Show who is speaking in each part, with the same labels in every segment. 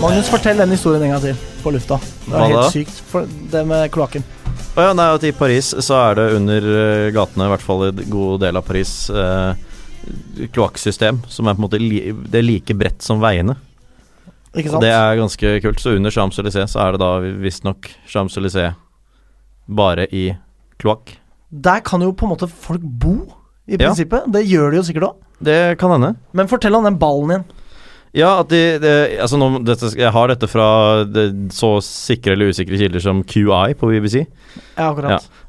Speaker 1: Magnus, fortell den historien en gang til på lufta. Det var
Speaker 2: Hva
Speaker 1: helt
Speaker 2: da?
Speaker 1: sykt, for det med kloakken.
Speaker 2: Å ja, nei, at I Paris så er det under eh, gatene, i hvert fall i en god del av Paris, eh, kloakksystem som er på en måte li det er like bredt som veiene.
Speaker 1: Ikke
Speaker 2: Og
Speaker 1: sant?
Speaker 2: det er ganske kult. Så under Champs-Élysées så er det da visstnok Champs-Élysées bare i kloakk.
Speaker 1: Der kan jo på en måte folk bo, i
Speaker 2: Ja.
Speaker 1: prinsippet. Det gjør de jo sikkert òg.
Speaker 2: Det kan hende.
Speaker 1: Men fortell om den ballen igjen.
Speaker 2: Ja, at de, de Altså, nå, dette, jeg har dette fra det, så sikre eller usikre kilder som QI på BBC.
Speaker 1: Ja, akkurat.
Speaker 2: Ja.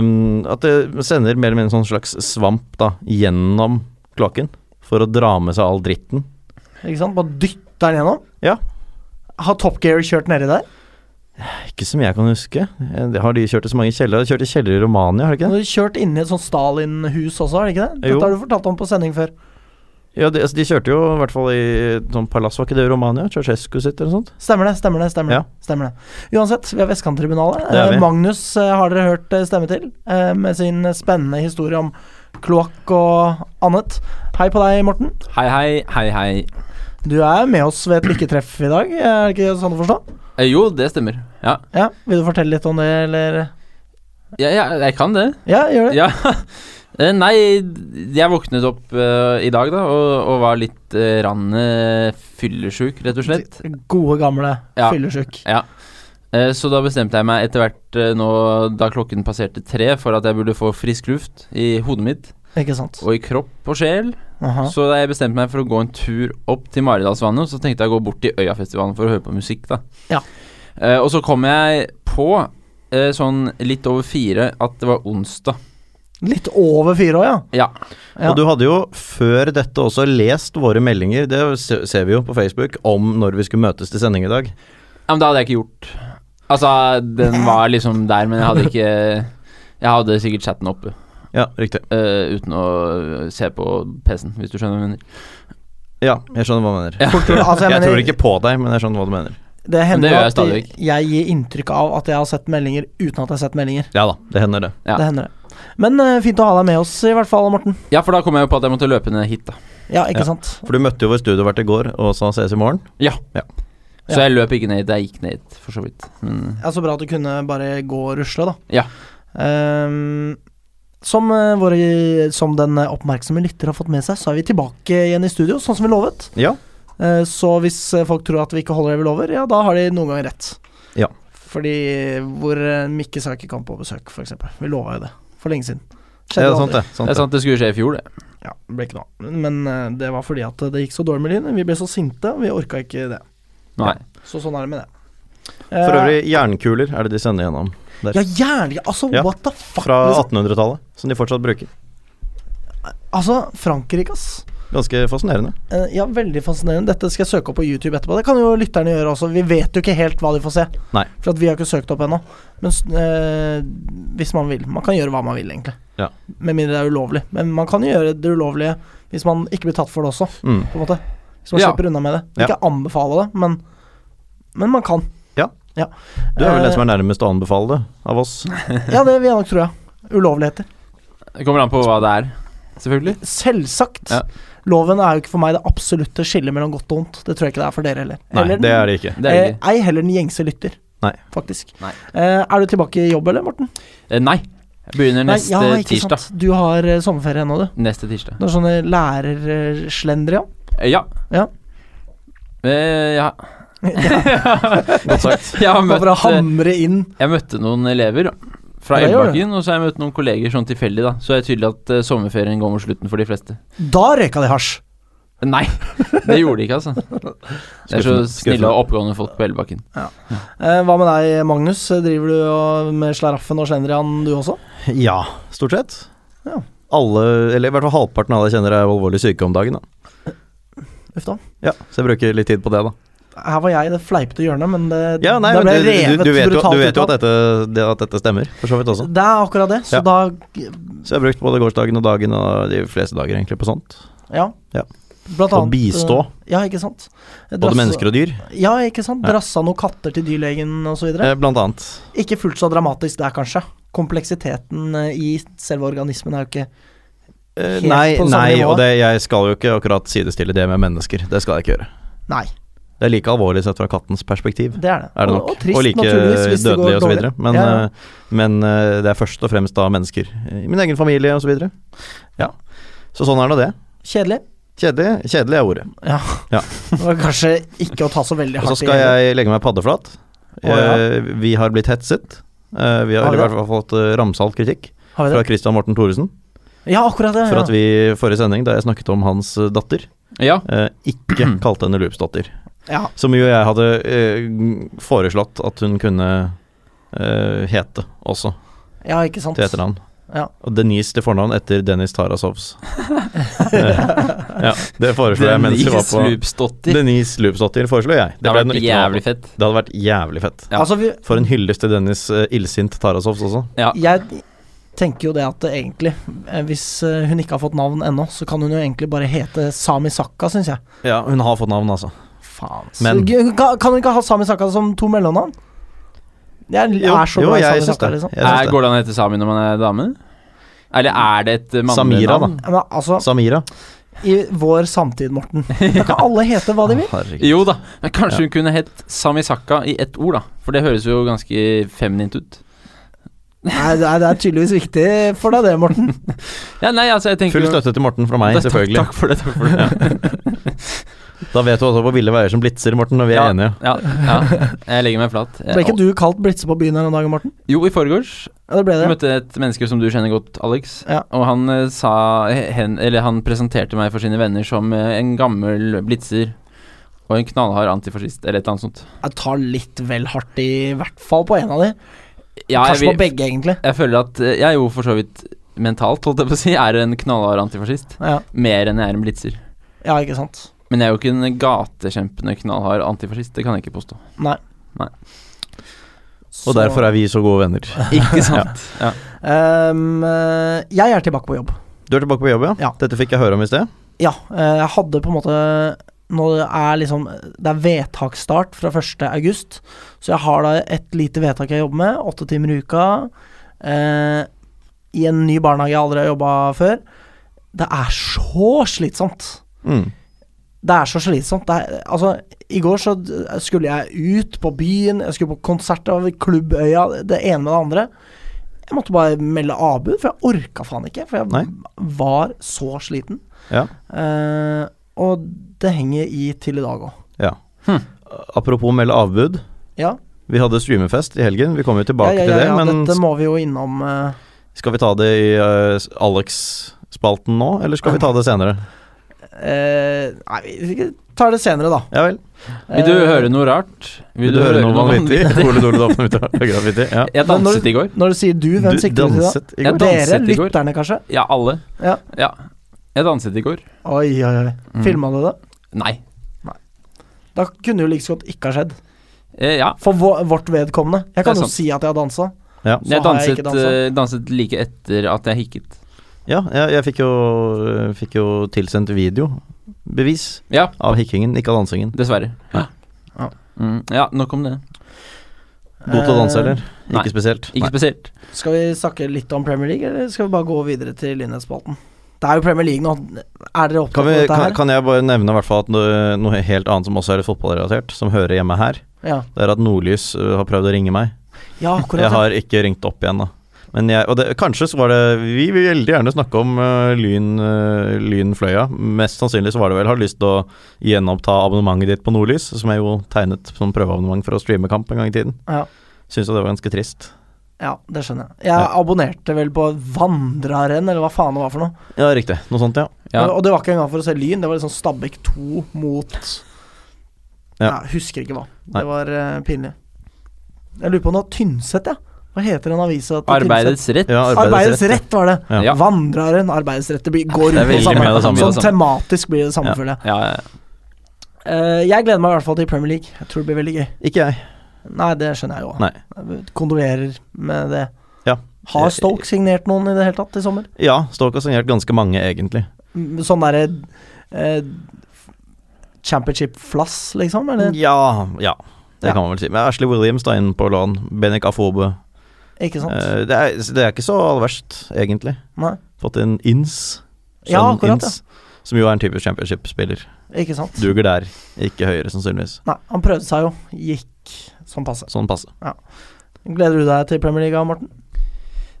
Speaker 2: Ehm, at det sender mer eller mindre en sånn slags svamp da gjennom kloakken for å dra med seg all dritten.
Speaker 1: Ikke sant? Bare dytte den gjennom.
Speaker 2: Ja.
Speaker 1: Har Top Gear kjørt nedi der?
Speaker 2: Ikke som jeg kan huske. Eh, det Har de kjørt i så mange kjeller? De har kjørt i kjeller i Romania, har de
Speaker 1: Du
Speaker 2: ikke det?
Speaker 1: har kjørt inni et sånt Stalin-hus også, er det ikke det? Dette
Speaker 2: Jo.
Speaker 1: har du fortalt om på sending før.
Speaker 2: Ja, de, altså, de kjørte jo i hvert fall i sånn palass, var ikke det i Romania? Ceausescu sitt eller noe sånt?
Speaker 1: Stemmer det, stemmer det. stemmer det,
Speaker 2: Ja.
Speaker 1: stemmer det. Uansett, vi er Vestkanttribunalet.
Speaker 2: Det er
Speaker 1: Eh,
Speaker 2: vi.
Speaker 1: Magnus eh, har dere hørt eh, stemme til, eh, med sin spennende historie om kloakk og annet. Hei på deg, Morten.
Speaker 3: Hei, hei, hei, hei.
Speaker 1: Du er med oss ved et lykketreff i dag, er det ikke sånn å forstå?
Speaker 3: Eh, jo, det stemmer. Ja.
Speaker 1: Ja, Vil du fortelle litt om det, eller?
Speaker 3: Ja, ja, jeg kan det.
Speaker 1: Ja, gjør det.
Speaker 3: Ja. Eh, Nei, jeg våknet opp eh, i dag, da, og, og var litt uh, rann eh, fyllesjuk, rett og slett.
Speaker 1: Gode, gamle
Speaker 3: Ja.
Speaker 1: fyllesjuk.
Speaker 3: Eh, Så da bestemte jeg meg etter hvert eh, nå da klokken passerte tre for at jeg burde få frisk luft i hodet mitt
Speaker 1: Ikke sant.
Speaker 3: og i kropp og sjel.
Speaker 1: Aha.
Speaker 3: Så da jeg bestemte meg for å gå en tur opp til Maridalsvannet, og så tenkte jeg å gå bort til Øyafestivalen for å høre på musikk, da.
Speaker 1: Ja.
Speaker 3: Eh, og så kom jeg på, eh, sånn litt over fire, at det var onsdag.
Speaker 1: Litt over fire år, ja.
Speaker 3: Ja.
Speaker 1: Ja.
Speaker 2: Og du hadde jo før dette også lest våre meldinger, det se- ser vi jo på Facebook, om når vi skulle møtes til sending i dag.
Speaker 3: Ja, men det hadde jeg ikke gjort. Altså, den var liksom der, men jeg hadde ikke Jeg hadde sikkert chatten oppe
Speaker 2: Ja, riktig.
Speaker 3: eh, uten å se på PC-en, hvis du skjønner hva jeg mener.
Speaker 2: Ja, jeg skjønner hva du mener.
Speaker 1: Folk tror- altså,
Speaker 2: Jeg
Speaker 1: mener-
Speaker 2: tror ikke på deg, men jeg skjønner hva du mener.
Speaker 1: Det hender
Speaker 3: Men det gjør jeg
Speaker 1: at
Speaker 3: stadig
Speaker 1: jeg, jeg gir inntrykk av at jeg har sett meldinger uten at jeg har sett meldinger.
Speaker 2: Ja da, det hender det.
Speaker 3: Ja.
Speaker 1: Det hender det. Men eh, fint å ha deg med oss, i hvert fall, Morten.
Speaker 3: Ja, for da kom jeg jo på at jeg måtte løpe ned hit, da.
Speaker 1: Ja, ikke
Speaker 2: Ja.
Speaker 1: sant.
Speaker 2: For du møtte jo vår studiovert i går og sa ses i morgen.
Speaker 3: Så jeg løp ikke ned hit, jeg gikk ned hit, for så vidt. Men
Speaker 1: Ja, Så bra at du kunne bare gå og rusle, da.
Speaker 3: Ja.
Speaker 1: Ehm, som, eh, våre, som den oppmerksomme lytter har fått med seg, så er vi tilbake igjen i studio, sånn som vi lovet.
Speaker 2: Ja.
Speaker 1: Eh, så hvis eh, folk tror at vi ikke holder det vi lover, ja, da har de noen ganger rett.
Speaker 2: Ja.
Speaker 1: Fordi hvor eh, Mikke Saki kom på besøk, f.eks. Vi lova jo det for lenge siden.
Speaker 2: Det er
Speaker 1: aldri.
Speaker 2: sant, det. Sant
Speaker 3: det er
Speaker 2: det.
Speaker 3: sant, det skulle skje i fjor, det.
Speaker 1: Ja, det ble ikke noe av. Men eh, det var fordi at det gikk så dårlig med lynet. Vi ble så sinte, og vi orka ikke det.
Speaker 3: Nei.
Speaker 1: Så sånn er det med det.
Speaker 2: For
Speaker 1: Eh,
Speaker 2: øvrig, jernkuler er det de sender gjennom der.
Speaker 1: Ja, jernlig, altså
Speaker 2: Ja.
Speaker 1: what the fuck
Speaker 2: Fra
Speaker 1: liksom.
Speaker 2: 1800-tallet, som de fortsatt bruker.
Speaker 1: Altså, Frankrike, ass
Speaker 2: Ganske fascinerende.
Speaker 1: Eh, Ja, veldig fascinerende Dette skal jeg søke opp på YouTube etterpå Det kan jo lytterne gjøre også Vi vet jo ikke helt hva de får se
Speaker 2: Nei.
Speaker 1: For at vi har ikke søkt opp enda Men s- eh, hvis man vil Man kan gjøre hva man vil egentlig
Speaker 2: Ja.
Speaker 1: Med mindre det er ulovlig Men man kan gjøre det ulovlige Hvis man ikke blir tatt for det også
Speaker 2: Mm.
Speaker 1: På en måte Hvis man
Speaker 3: Ja.
Speaker 1: slipper unna med det
Speaker 2: Ja.
Speaker 1: Ikke anbefale det, men Men man kan
Speaker 2: Ja.
Speaker 1: Ja,
Speaker 2: Du er vel den
Speaker 1: Eh,
Speaker 2: som er nærmest å anbefale det av oss.
Speaker 1: ja det vil jeg nok tro, ja Ulovligheter
Speaker 3: Det kommer an på hva det er, selvfølgelig.
Speaker 1: Selvsagt.
Speaker 3: Ja.
Speaker 1: Loven er jo ikke for meg det absolutte skillet mellom godt og vondt. Det tror jeg ikke det er for dere heller.
Speaker 2: Nei,
Speaker 1: Eller
Speaker 2: det
Speaker 1: den-
Speaker 2: er det ikke.
Speaker 3: Det er det ikke.
Speaker 1: eh, ei heller den gjengse lytter.
Speaker 2: Nei.
Speaker 1: Faktisk.
Speaker 3: Nei.
Speaker 1: Eh, er du tilbake i jobb, eller, Morten?
Speaker 3: Eh, Nei. Jeg begynner neste
Speaker 1: Nei, ja, ikke
Speaker 3: tirsdag.
Speaker 1: Sant. Du har eh, sommerferie ennå, du.
Speaker 3: Neste tirsdag.
Speaker 1: Du har sånne lærerslendere, ja.
Speaker 3: Eh, Ja.
Speaker 1: Ja.
Speaker 3: Eh, ja.
Speaker 2: Godt sagt.
Speaker 3: Jeg har
Speaker 1: Bare for å
Speaker 3: møtt eh,
Speaker 1: hamre inn.
Speaker 3: Jeg møtte noen elever da, fra
Speaker 1: Ja, det gjorde
Speaker 3: Elvebakken, og så har jeg møtt noen kolleger sånn tilfeldig, da. Så er det tydelig at eh, sommerferien går mot slutten for de fleste. Eh,
Speaker 1: Da røyka de hasj.
Speaker 3: Nei, det gjorde de ikke, altså. Det er så
Speaker 2: Skuffende,
Speaker 3: snille og oppegående folk på Elvebakken.
Speaker 1: Eh, hva med deg, Magnus? Driver du og med slaraffen og slendrian, du også?
Speaker 2: Ja, stort sett.
Speaker 1: Ja.
Speaker 2: Alle, eller i hvert fall halvparten av alle jeg kjenner er alvorlig syke om dagen. Da.
Speaker 1: Uff da.
Speaker 2: Ja, Så jeg bruker litt tid på det, da.
Speaker 1: Her var jeg i det fleipete hjørnet, men det,
Speaker 2: Ja, nei,
Speaker 1: da
Speaker 2: men
Speaker 1: ble
Speaker 2: det,
Speaker 1: jeg
Speaker 2: du,
Speaker 1: revet
Speaker 2: du vet jo,
Speaker 1: brutalt
Speaker 2: du vet
Speaker 1: ut
Speaker 2: jo
Speaker 1: av.
Speaker 2: at, dette, det, at dette stemmer, for så vidt også.
Speaker 1: Det er akkurat det, så
Speaker 2: Ja.
Speaker 1: da
Speaker 2: Så jeg har brukt både gårsdagen og dagen og de fleste dager egentlig på sånt.
Speaker 1: Ja.
Speaker 2: Ja.
Speaker 1: Blant
Speaker 2: Å bistå
Speaker 1: eh, Ja, ikke sant.
Speaker 2: både mennesker og dyr,
Speaker 1: Ja, ikke sant.
Speaker 2: Ja.
Speaker 1: Drassa noen katter til dyrlegen osv.
Speaker 2: eh, blant annet.
Speaker 1: Ikke fullt så dramatisk der, kanskje. Kompleksiteten eh, i selve organismen er jo ikke
Speaker 2: Eh,
Speaker 1: Helt
Speaker 2: Nei,
Speaker 1: på samme
Speaker 2: nei
Speaker 1: nivå.
Speaker 2: og det, jeg skal jo ikke akkurat sidestille det med mennesker. Det skal jeg ikke gjøre.
Speaker 1: Nei.
Speaker 2: Det er like alvorlig sett fra kattens perspektiv.
Speaker 1: Det er det.
Speaker 2: Er det
Speaker 1: Og-
Speaker 2: nok.
Speaker 1: Og, trist,
Speaker 2: like
Speaker 1: naturligvis, hvis det
Speaker 2: dødelig
Speaker 1: går
Speaker 2: og så
Speaker 1: dårlig.
Speaker 2: videre. Men,
Speaker 1: Ja, ja.
Speaker 2: eh, men eh, det er først og fremst da mennesker. I min egen familie og så videre. Ja. Så sånn er nå det.
Speaker 1: Kjedelig.
Speaker 2: Kjedelig, kjedelig er ordet.
Speaker 1: Ja.
Speaker 2: Ja.
Speaker 1: Det var kanskje ikke å ta så veldig
Speaker 2: Og så
Speaker 1: hardt
Speaker 2: skal jeg legge meg paddeflat.
Speaker 1: Å, ja.
Speaker 2: Eh, Vi har blitt hetset. Eh, Vi har,
Speaker 1: Har vi
Speaker 2: i
Speaker 1: det?
Speaker 2: hvert fall fått eh, ramsalt kritikk
Speaker 1: Har vi
Speaker 2: fra
Speaker 1: det?
Speaker 2: Christian Morten Thoresen
Speaker 1: Ja, akkurat det.
Speaker 2: for
Speaker 1: Ja.
Speaker 2: at vi i forrige sending, da jeg snakket om hans eh, datter,
Speaker 3: Ja.
Speaker 2: eh, ikke kalte henne Loops-datter.
Speaker 1: ja.
Speaker 2: Som jo jeg hadde eh, foreslått at hun kunne eh, hete også,
Speaker 1: ja, ikke sant.
Speaker 2: til etternavn.
Speaker 1: Ja.
Speaker 2: Og Denise til fornavn etter Dennis Tarasovs. Eh, ja, det foreslo jeg mens vi var på
Speaker 3: Lupsdotter.
Speaker 2: Denise Loopsdottir foreslo jeg.
Speaker 3: Det
Speaker 2: ble
Speaker 3: hadde
Speaker 2: den
Speaker 3: vært
Speaker 2: ikke noe av.
Speaker 3: jævlig fett.
Speaker 2: Det hadde vært jævlig fett.
Speaker 3: Ja.
Speaker 1: Altså, vi,
Speaker 2: For en hyllest til Dennis eh, illsint Tarasovs også.
Speaker 3: Ja.
Speaker 1: jeg tenker jo det at det egentlig, eh, hvis eh, hun ikke har fått navn ennå, så kan hun jo egentlig bare hete Sami Sakka, syns jeg.
Speaker 2: Ja, hun har fått navn, altså.
Speaker 1: Faen.
Speaker 2: Men-
Speaker 1: Men, kan, kan hun ikke ha Sami Sakka som to mellomnavn? Jeg er så glad i Sami
Speaker 2: syns
Speaker 1: Sakka,
Speaker 2: det.
Speaker 1: liksom.
Speaker 2: Jeg syns
Speaker 3: Er,
Speaker 2: det.
Speaker 3: Eh, går det an å hete Sami når man er dame? Eller er det et eh,
Speaker 2: Samira,
Speaker 3: mannenavn?
Speaker 1: Ja, Men altså,
Speaker 2: Samira.
Speaker 1: i vår samtid, Morten, kan ikke alle hete hva de vil?
Speaker 2: Herregud.
Speaker 3: Jo da, men kanskje
Speaker 2: Ja.
Speaker 3: hun kunne hett Samisaka i ett ord, da. For det høres jo ganske feminint ut.
Speaker 1: Nei, det er, det er tydeligvis viktig for deg, det, Morten.
Speaker 3: Ja, nei, altså, jeg tenker
Speaker 2: Full støtte til Morten fra meg,
Speaker 3: Takk-
Speaker 2: selvfølgelig.
Speaker 3: Takk, takk for det. Takk for det.
Speaker 2: Da vet du også på ville veier som blitzer, Morten, når vi er
Speaker 3: Ja.
Speaker 2: enige.
Speaker 3: Ja, ja, jeg legger meg flat.
Speaker 1: Ble ikke du kalt blitse på byen her om dagen, Morten?
Speaker 3: Jo, i forgårs
Speaker 1: Ja, det ble
Speaker 3: Jeg
Speaker 1: det.
Speaker 3: møtte et menneske som du kjenner godt, Alex.
Speaker 1: Ja.
Speaker 3: Og han eh, sa hen, Eller han presenterte meg for sine venner som eh, en gammel blitzer og en knallhard antifascist, eller et eller annet sånt.
Speaker 1: Jeg tar litt vel hardt i hvert fall på en av de.
Speaker 3: Ja, jeg,
Speaker 1: Kanskje på
Speaker 3: vil-
Speaker 1: begge, egentlig.
Speaker 3: jeg føler at eh, jeg er jo for så vidt mentalt, holdt jeg på å si, er en knallhard antifascist.
Speaker 1: Ja,
Speaker 3: Mer enn jeg er en blitzer.
Speaker 1: ja ikke sant.
Speaker 3: Men jeg er jo ikke en gatekjempende knallhard antifascist, det kan jeg ikke påstå.
Speaker 2: Og derfor er vi så gode venner.
Speaker 3: Ikke sant? ja.
Speaker 1: Ehm, eh, Jeg er tilbake på jobb.
Speaker 2: Du er tilbake på jobb, ja?
Speaker 1: Ja.
Speaker 2: Dette fikk jeg høre om i sted.
Speaker 1: Ja, eh, jeg hadde på en måte Nå er liksom Det er vedtaksstart fra 1. august, så jeg har da et lite vedtak jeg jobber med, åtte timer i uka. Eh, I en ny barnehage jeg aldri har jobba før. Det er så slitsomt.
Speaker 2: Mm.
Speaker 1: Det er så slitsomt. Det er, altså, I går så d- skulle jeg ut på byen, jeg skulle på konsert over Klubbøya, det ene med det andre. Jeg måtte bare melde avbud, for jeg orka faen ikke. For jeg
Speaker 2: Nei.
Speaker 1: var så sliten.
Speaker 2: Ja.
Speaker 1: Eh, og det henger i til i dag òg.
Speaker 2: ja.
Speaker 3: Hm.
Speaker 2: Apropos melde avbud.
Speaker 1: Ja,
Speaker 2: Vi hadde streamerfest i helgen, vi kommer jo
Speaker 1: ja,
Speaker 2: tilbake
Speaker 1: ja, ja, ja,
Speaker 2: til det. Men
Speaker 1: dette må vi jo innom. eh,
Speaker 2: skal vi ta det i eh, Alex-spalten nå, eller skal vi ta det senere?
Speaker 1: eh, nei, vi vi tar det senere, da.
Speaker 2: Ja vel.
Speaker 3: Vil
Speaker 1: Eh,
Speaker 3: du høre noe rart?
Speaker 2: Vil du, høre noe vanvittig? Ole Dole Dofne Graffiti. Ja.
Speaker 3: Jeg
Speaker 1: Men når
Speaker 3: danset i går.
Speaker 1: Når du sier du, hvem
Speaker 2: Du
Speaker 1: sikter du til da?
Speaker 2: danset i går.
Speaker 3: Jeg
Speaker 1: Dere?
Speaker 3: danset i går.
Speaker 1: Lytterne, kanskje?
Speaker 3: Ja, alle.
Speaker 1: Ja.
Speaker 3: Jeg danset i går.
Speaker 1: Oi, oi, oi.
Speaker 3: Mm.
Speaker 1: Filma du det?
Speaker 3: Nei.
Speaker 1: Da kunne jo like så godt ikke ha skjedd.
Speaker 3: Eh, ja.
Speaker 1: For vå- vårt vedkommende. Jeg
Speaker 3: Det
Speaker 1: kan
Speaker 3: er
Speaker 1: jo
Speaker 3: sant.
Speaker 1: si at jeg har dansa.
Speaker 2: Ja.
Speaker 1: Så har
Speaker 3: Jeg
Speaker 1: jeg
Speaker 3: danset,
Speaker 1: ikke danset.
Speaker 3: eh, danset like etter at jeg hikket.
Speaker 2: ja, jeg, jeg fikk jo, fikk jo tilsendt videobevis
Speaker 3: Ja,
Speaker 2: av hikkingen, ikke av dansingen.
Speaker 3: dessverre.
Speaker 2: Ja.
Speaker 3: Mm, ja, nok om det.
Speaker 2: God til å danse,
Speaker 1: Eh,
Speaker 2: eller?
Speaker 3: nei.
Speaker 2: Ikke spesielt. Nei.
Speaker 3: Ikke spesielt.
Speaker 1: Skal vi snakke litt om Premier League, eller skal vi bare gå videre til Lynhetsspalten? Det er jo Premier League nå. Er dere opptatt
Speaker 2: Kan,
Speaker 1: av
Speaker 2: vi,
Speaker 1: dette
Speaker 2: kan,
Speaker 1: her?
Speaker 2: kan jeg bare nevne i hvert fall at noe, noe helt annet som også er litt fotballrelatert, som hører hjemme her,
Speaker 1: Ja.
Speaker 2: det er at Nordlys ø, har prøvd å ringe meg.
Speaker 1: ja, akkurat.
Speaker 2: Jeg
Speaker 1: ja.
Speaker 2: har ikke ringt opp igjen, da. Men jeg, og det, kanskje så var det Vi vil veldig gjerne snakke om ø, lyn, ø, Lynfløya. Mest sannsynlig så var det vel Har du lyst til å gjenoppta abonnementet ditt på Nordlys, som jeg jo tegnet som prøveabonnement for å streame kamp en gang i tiden.
Speaker 1: Ja.
Speaker 2: Syns jo det var ganske trist.
Speaker 1: ja, det skjønner jeg. Jeg abonnerte vel på Vandreren, eller hva faen det var for noe.
Speaker 2: Ja, riktig. Noe sånt, ja.
Speaker 3: Ja.
Speaker 1: Og- Og det var ikke engang for å se Lyn, det var liksom Stabæk 2 mot
Speaker 2: Ja.
Speaker 1: Nei, husker ikke hva.
Speaker 2: Nei.
Speaker 1: Det var eh, pinlig. Jeg lurer på om det var Tynset, jeg. Ja. Hva heter den avisa til Tynset?
Speaker 3: Arbeidets rett.
Speaker 2: ja
Speaker 1: Arbeidets Rett var det.
Speaker 2: Ja.
Speaker 3: Ja.
Speaker 1: Vandreren, Arbeidets Rett. Det blir- går
Speaker 3: Det er
Speaker 1: ut på
Speaker 3: veldig mye av
Speaker 1: samme.
Speaker 3: det samme. altså.
Speaker 1: Sånn tematisk blir det det samme,
Speaker 2: Ja.
Speaker 1: føler jeg.
Speaker 3: Ja, ja.
Speaker 1: Eh, jeg gleder meg i hvert fall til Premier League. Jeg tror det blir veldig gøy.
Speaker 2: Ikke jeg.
Speaker 1: Nei, det skjønner jeg jo.
Speaker 2: Nei.
Speaker 1: Kondolerer med det.
Speaker 2: Ja.
Speaker 1: Har Stoke signert noen i det hele tatt i sommer?
Speaker 2: Ja, Stoke har signert ganske mange, egentlig.
Speaker 1: Mm, Sånn derre eh, Championship-flass, liksom? Eller?
Speaker 2: Ja, ja. Det
Speaker 1: Ja.
Speaker 2: kan man vel si. Men Ashley Williams da inn på lån. Benik Afobe.
Speaker 1: Ikke sant?
Speaker 2: Eh, det, er, det er ikke så all verst, egentlig.
Speaker 1: Nei.
Speaker 2: Fått en ins.
Speaker 1: Ja, akkurat,
Speaker 2: Ins. Som jo er en typisk championship-spiller.
Speaker 1: Ikke sant?
Speaker 2: Duger der, ikke høyere sannsynligvis.
Speaker 1: Nei, han prøvde seg jo. Gikk sånn passe.
Speaker 2: Sånn passe.
Speaker 1: Gleder du deg til Premier League, Morten?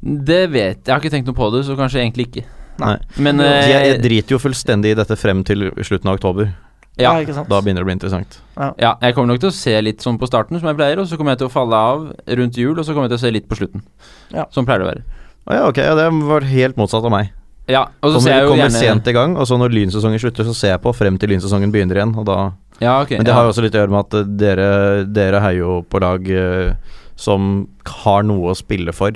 Speaker 3: Det vet jeg. Jeg har ikke tenkt noe på det, så kanskje egentlig ikke.
Speaker 2: Nei.
Speaker 3: Men
Speaker 2: De
Speaker 3: eh,
Speaker 2: jeg driter jo fullstendig i dette frem til slutten av oktober.
Speaker 3: ja,
Speaker 1: ikke sant?
Speaker 2: Da begynner det å bli interessant.
Speaker 3: ja, jeg kommer nok til å se litt sånn på starten, som jeg pleier, og så kommer jeg til å falle av rundt jul, og så kommer jeg til å se litt på slutten.
Speaker 1: Ja.
Speaker 3: Sånn pleier det å være.
Speaker 2: Å ja, ok, ja, det var helt motsatt av meg.
Speaker 3: Ja, og så ser
Speaker 2: Kommer,
Speaker 3: jeg jo
Speaker 2: kommer
Speaker 3: gjerne
Speaker 2: sent i gang, og så når lynsesongen slutter, så ser jeg på frem til lynsesongen begynner igjen, og da
Speaker 3: Ja, ok.
Speaker 2: Men det
Speaker 3: ja.
Speaker 2: har jo også litt å gjøre med at eh, dere, dere heier jo på lag eh, som har noe å spille for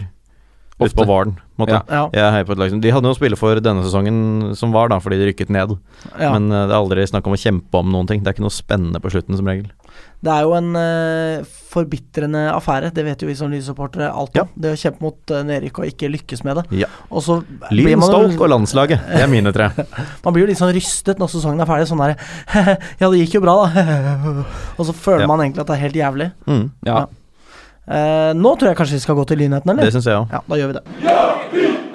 Speaker 3: Ofte.
Speaker 2: utpå våren. på en måte.
Speaker 3: Ja.
Speaker 1: Ja,
Speaker 2: Jeg heier på et lag som De hadde noe å spille for denne sesongen som var, da, fordi de rykket ned.
Speaker 1: ja.
Speaker 2: Men eh, det er aldri snakk om å kjempe om noen ting. Det er ikke noe spennende på slutten, som regel.
Speaker 1: Det er jo en uh, forbitrende affære, det vet jo vi som Lyn-supportere alt om. Det å kjempe mot eh, nedrykk og ikke lykkes med det.
Speaker 2: Ja.
Speaker 1: Og så blir
Speaker 2: Lyn,
Speaker 1: man,
Speaker 2: Stoke
Speaker 1: jo,
Speaker 2: og landslaget, det er mine tre.
Speaker 1: man blir jo litt sånn rystet når sesongen er ferdig. Sånn der Ja, det gikk jo bra, da. og så føler
Speaker 2: Ja.
Speaker 1: man egentlig at det er helt jævlig.
Speaker 2: Mm,
Speaker 3: ja.
Speaker 1: Ja. Eh, nå tror jeg kanskje vi skal gå til lynheten, eller?
Speaker 2: det syns jeg òg.
Speaker 1: Ja, da gjør vi det.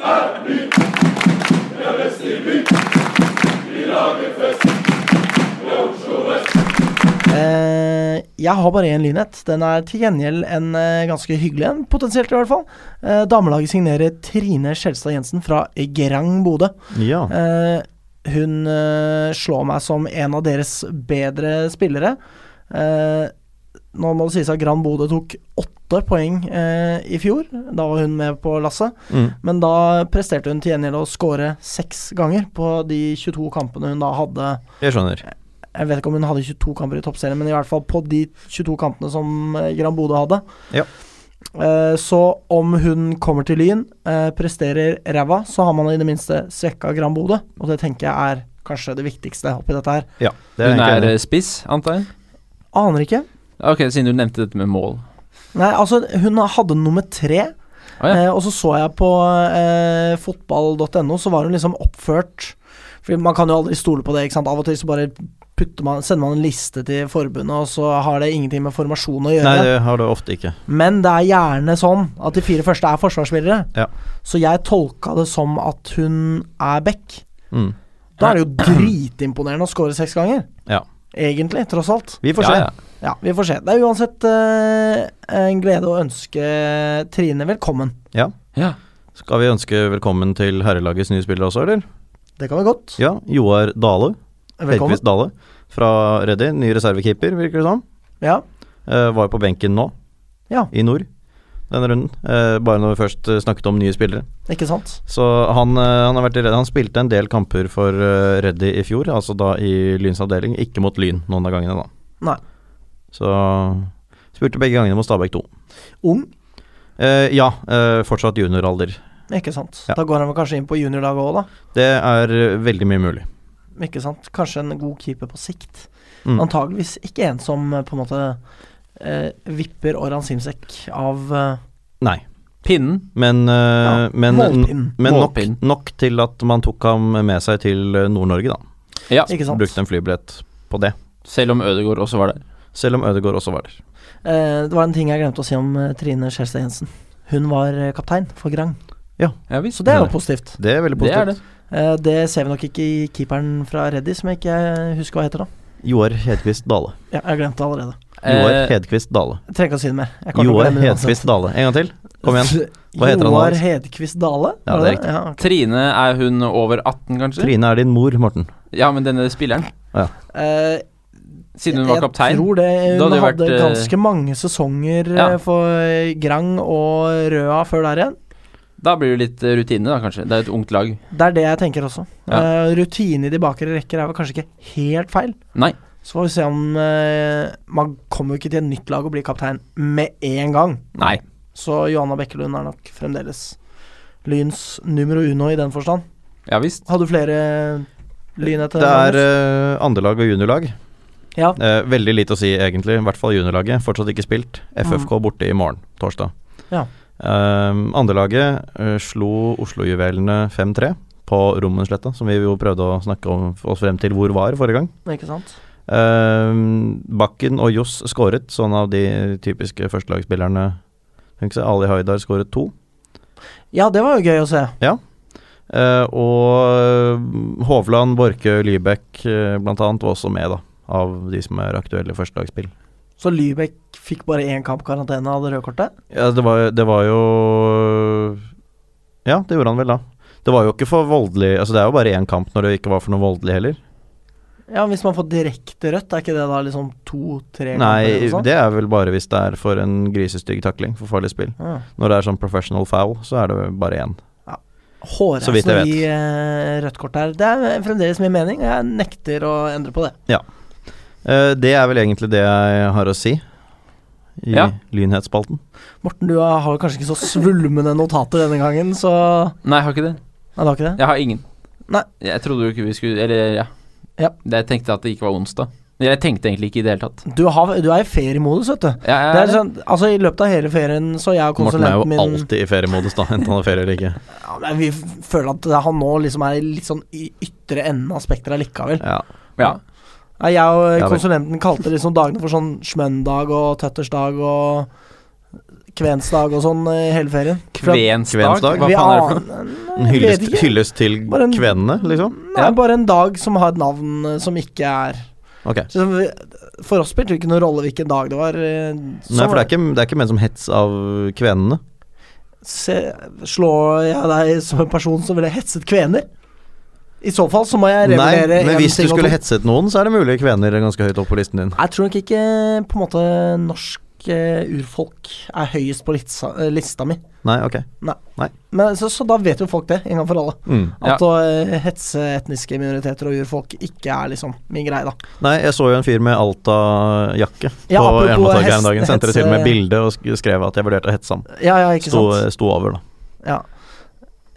Speaker 1: Eh, jeg har bare én lynhet. Den er til gjengjeld en eh, ganske hyggelig en, potensielt i hvert fall. Eh, damelaget signerer Trine Skjelstad Jensen fra Gerang Bodø.
Speaker 2: Ja.
Speaker 1: Eh, hun eh, slår meg som en av deres bedre spillere. Eh, nå må det sies at Gran Bodø tok åtte poeng eh, i fjor. Da var hun med på lasset.
Speaker 2: Mm.
Speaker 1: Men da presterte hun til gjengjeld å skåre seks ganger på de 22 kampene hun da hadde
Speaker 2: Jeg skjønner.
Speaker 1: Jeg vet ikke om hun hadde 22 kamper i toppserien, men i hvert fall på de 22 kampene som eh, Gran Bodø hadde.
Speaker 2: Ja.
Speaker 1: Eh, Så om hun kommer til Lyn, eh, presterer ræva, så har man i det minste svekka Gran Bodø. Og det tenker jeg er kanskje det viktigste oppi dette her.
Speaker 2: Ja, det er
Speaker 3: Hun
Speaker 2: jeg
Speaker 3: er
Speaker 2: egentlig enig i.
Speaker 3: eh, spiss, antar jeg?
Speaker 1: Aner ikke.
Speaker 3: Ok, siden du nevnte dette med mål.
Speaker 1: Nei, altså, hun hadde nummer tre.
Speaker 3: Å ja.
Speaker 1: Eh, og så så jeg på eh, fotball.no, så var hun liksom oppført For man kan jo aldri stole på det, ikke sant. Av og til så bare putter man, sender man en liste til forbundet, og så har det ingenting med formasjon å gjøre.
Speaker 2: Nei, det har du ofte ikke.
Speaker 1: Men det er gjerne sånn at de fire første er forsvarsspillere.
Speaker 2: Ja.
Speaker 1: Så jeg tolka det som at hun er back.
Speaker 2: Mm.
Speaker 1: Da er det jo dritimponerende å score seks ganger.
Speaker 2: Ja.
Speaker 1: Egentlig, tross alt.
Speaker 2: Vi får se.
Speaker 3: Ja, ja.
Speaker 1: Ja, vi får se. Det er uansett eh, en glede å ønske Trine velkommen.
Speaker 3: Ja.
Speaker 2: Skal vi ønske velkommen til herrelagets nye spiller også, eller?
Speaker 1: Det kan vi godt.
Speaker 2: Ja, Joar Dale.
Speaker 1: Velkommen.
Speaker 2: Heldigvis Dale fra Reddy. Ny reservekeeper, virker det som.
Speaker 1: Ja.
Speaker 2: Eh, var jo på benken nå,
Speaker 1: Ja.
Speaker 2: i nord, denne runden. Eh, bare når vi først eh, snakket om nye spillere.
Speaker 1: Ikke sant?
Speaker 2: Så han, eh, han har vært i Reddy. Han spilte en del kamper for eh, Reddy i fjor, altså da i Lyns avdeling. Ikke mot Lyn noen av gangene, da.
Speaker 1: Nei.
Speaker 2: Så spilte begge gangene mot Stabæk 2.
Speaker 1: Ung,
Speaker 2: Eh, ja, eh, fortsatt junioralder.
Speaker 1: ikke sant.
Speaker 2: Ja.
Speaker 1: Da går han vel kanskje inn på juniorlaget òg, da.
Speaker 2: Det er eh, veldig mye mulig.
Speaker 1: Ikke sant? Kanskje en god keeper på sikt.
Speaker 2: Mm.
Speaker 1: Antageligvis ikke en som eh, på en måte eh, vipper Orhan Simsek av eh,
Speaker 2: Nei.
Speaker 3: Pinnen.
Speaker 2: Men, eh,
Speaker 1: Ja,
Speaker 2: men,
Speaker 1: målpinnen.
Speaker 2: men nok,
Speaker 3: Målpinnen.
Speaker 2: nok til at man tok ham med seg til eh, Nord-Norge, da.
Speaker 3: Ja.
Speaker 1: Ikke sant.
Speaker 2: Brukte en flybillett på det.
Speaker 3: Selv om Ødegaard også var der.
Speaker 2: Selv om Ødegaard også var der.
Speaker 1: Eh, det var en ting jeg glemte å si om eh, Trine Skjelstad Jensen. Hun var eh, kaptein for Grang,
Speaker 3: Ja visst.
Speaker 1: så det er jo
Speaker 2: Nei.
Speaker 1: positivt.
Speaker 2: Det er veldig
Speaker 3: Det er
Speaker 2: positivt.
Speaker 3: det.
Speaker 1: Eh, det ser vi nok ikke i keeperen fra Reddy, som jeg ikke eh, husker hva heter da.
Speaker 2: Joar Hedquist Dale.
Speaker 1: Ja, jeg glemte det allerede.
Speaker 2: Joar
Speaker 3: Eh,
Speaker 2: Hedquist Dale.
Speaker 1: Jeg trenger ikke å si det mer. Jeg kommer til å
Speaker 2: Joar
Speaker 1: glemme det uansett.
Speaker 2: Hedquist Dale. En gang til. Kom igjen. Hva heter han,
Speaker 1: Joar
Speaker 2: Alex?
Speaker 1: Hedquist Dale?
Speaker 2: Ja,
Speaker 1: var
Speaker 2: det er
Speaker 1: Ja, ok.
Speaker 3: Trine, er hun over 18, kanskje?
Speaker 2: Trine er din mor, Morten.
Speaker 3: Ja, men denne spilleren,
Speaker 1: Eh,
Speaker 3: siden hun var
Speaker 1: Jeg
Speaker 3: kaptein
Speaker 1: tror det.
Speaker 3: Da
Speaker 1: Hun
Speaker 3: hadde det
Speaker 1: hadde
Speaker 3: vært, eh,
Speaker 1: ganske mange sesonger
Speaker 3: Ja.
Speaker 1: eh, for Grang og Røa før der igjen.
Speaker 3: Da blir det litt eh, rutine, da, kanskje. Det er et ungt lag.
Speaker 1: Det er det jeg tenker også.
Speaker 3: Ja.
Speaker 1: Eh, rutine i de bakre rekker er vel kanskje ikke helt feil.
Speaker 3: Nei.
Speaker 1: Så får vi se om eh, Man kommer jo ikke til et nytt lag og blir kaptein med en gang.
Speaker 3: Nei.
Speaker 1: Så Johanna Bekkelund er nok fremdeles Lyns numero uno i den forstand.
Speaker 3: Ja visst.
Speaker 1: Har du flere lyn etter
Speaker 2: Det er
Speaker 1: Magnus?
Speaker 2: eh, andrelag og juniorlag.
Speaker 1: Ja.
Speaker 2: Eh, veldig lite å si, egentlig. I hvert fall juniorlaget. Fortsatt ikke spilt. FFK borte i morgen, torsdag.
Speaker 1: Mm. Ja.
Speaker 2: Eh, andrelaget eh, slo Oslo-juvelene 5-3 på Rommensletta, som vi jo prøvde å snakke om oss frem til hvor var forrige gang.
Speaker 1: Ikke sant?
Speaker 2: Eh, Bakken og Johs skåret, sånn av de typiske førstelagsspillerne. Tenk seg, Ali Haidar skåret to.
Speaker 1: Ja, det var jo gøy å se.
Speaker 2: Eh, og Hovland, Borke, Lybekk eh, blant annet var også med, da. Av de som er aktuelle i førstelagsspill.
Speaker 1: Så Lybekk fikk bare én kamp karantene av det røde kortet?
Speaker 2: Ja, det var, det var jo Ja, det gjorde han vel da. Det var jo ikke for voldelig Altså, det er jo bare én kamp når det ikke var for noe voldelig heller.
Speaker 1: Ja, hvis man får direkte rødt, er ikke det da liksom to-tre kamper?
Speaker 2: Nei,
Speaker 1: eller noe sånt?
Speaker 2: det er vel bare hvis det er for en grisestygg takling for farlig spill.
Speaker 1: Ja.
Speaker 2: Når det er sånn professional foul, så er det bare én. Så vidt
Speaker 1: Hårreisende
Speaker 2: jeg
Speaker 1: å gi eh, rødt kort her. Det er fremdeles min mening, og jeg nekter å endre på det.
Speaker 2: Eh, det er vel egentlig det jeg har å si i
Speaker 3: Ja.
Speaker 2: lynhetsspalten.
Speaker 1: Morten, du har har kanskje ikke så svulmende notater denne gangen, så
Speaker 3: Nei, jeg har ikke det.
Speaker 1: Nei, du har ikke det?
Speaker 3: Jeg har ingen.
Speaker 1: Nei.
Speaker 3: Jeg trodde jo ikke vi skulle Eller, ja.
Speaker 1: Ja.
Speaker 3: Det- Jeg tenkte at det ikke var onsdag. Jeg tenkte egentlig ikke i det hele tatt.
Speaker 1: Du, har, du er i feriemodus, vet du.
Speaker 3: Jeg, jeg,
Speaker 1: Det er sånn, altså I løpet av hele ferien så jeg og
Speaker 2: Morten er jo
Speaker 1: konsulenten min
Speaker 2: alltid i feriemodus, da, enten han har ferie eller ikke.
Speaker 1: ja, men Vi f- føler at han nå liksom er i litt sånn i ytre enden av spekteret likevel.
Speaker 2: Ja.
Speaker 3: ja.
Speaker 1: Nei, jeg og
Speaker 2: Ja vel.
Speaker 1: konsulenten kalte liksom dagene for sånn smøndag og tøttersdag og kvensdag og sånn i hele ferien. For at-
Speaker 3: Kvensdag?
Speaker 2: Kvensdag?
Speaker 3: Hva
Speaker 1: Vi
Speaker 3: faen er det for noe?
Speaker 1: aner-
Speaker 2: En
Speaker 1: Nei, jeg vet
Speaker 2: hyllest,
Speaker 1: ikke.
Speaker 2: hyllest til
Speaker 1: Bare en-
Speaker 2: kvenene, liksom?
Speaker 1: Nei,
Speaker 3: Ja.
Speaker 1: bare en dag som har et navn eh, som ikke er
Speaker 2: Ok.
Speaker 1: så vi- For oss spilte det ikke noen rolle hvilken dag det var. eh,
Speaker 2: Nei,
Speaker 1: sånn
Speaker 2: for det er, ikke, det er ikke menn som hets av kvenene.
Speaker 1: Se, slår jeg deg som en person som ville hetset kvener? I så fall så må jeg
Speaker 2: Nei,
Speaker 1: revurdere
Speaker 2: men
Speaker 1: en
Speaker 2: hvis du
Speaker 1: ting og to.
Speaker 2: skulle hetset noen, så er det mulig kvener er ganske høyt opp på listen din.
Speaker 1: Jeg tror nok ikke eh, på en måte norsk eh, urfolk er høyest på litsa, eh, lista mi.
Speaker 2: Nei, ok.
Speaker 1: Men, så, så da vet jo folk det, en gang for alle.
Speaker 2: Mm.
Speaker 1: At å eh, hetse etniske minoriteter og urfolk ikke er liksom min greie, da.
Speaker 2: Nei, jeg så jo en fyr med Alta-jakke
Speaker 1: Ja, apropos
Speaker 2: på Jernbanetorget her
Speaker 1: hest-
Speaker 2: om dagen. Sendte det til og med
Speaker 1: hetse-
Speaker 2: bilde og sk- skrev at jeg vurderte å hetse ham.
Speaker 1: Ja, ja, ikke
Speaker 2: Sto,
Speaker 1: sant.
Speaker 2: sto over, da.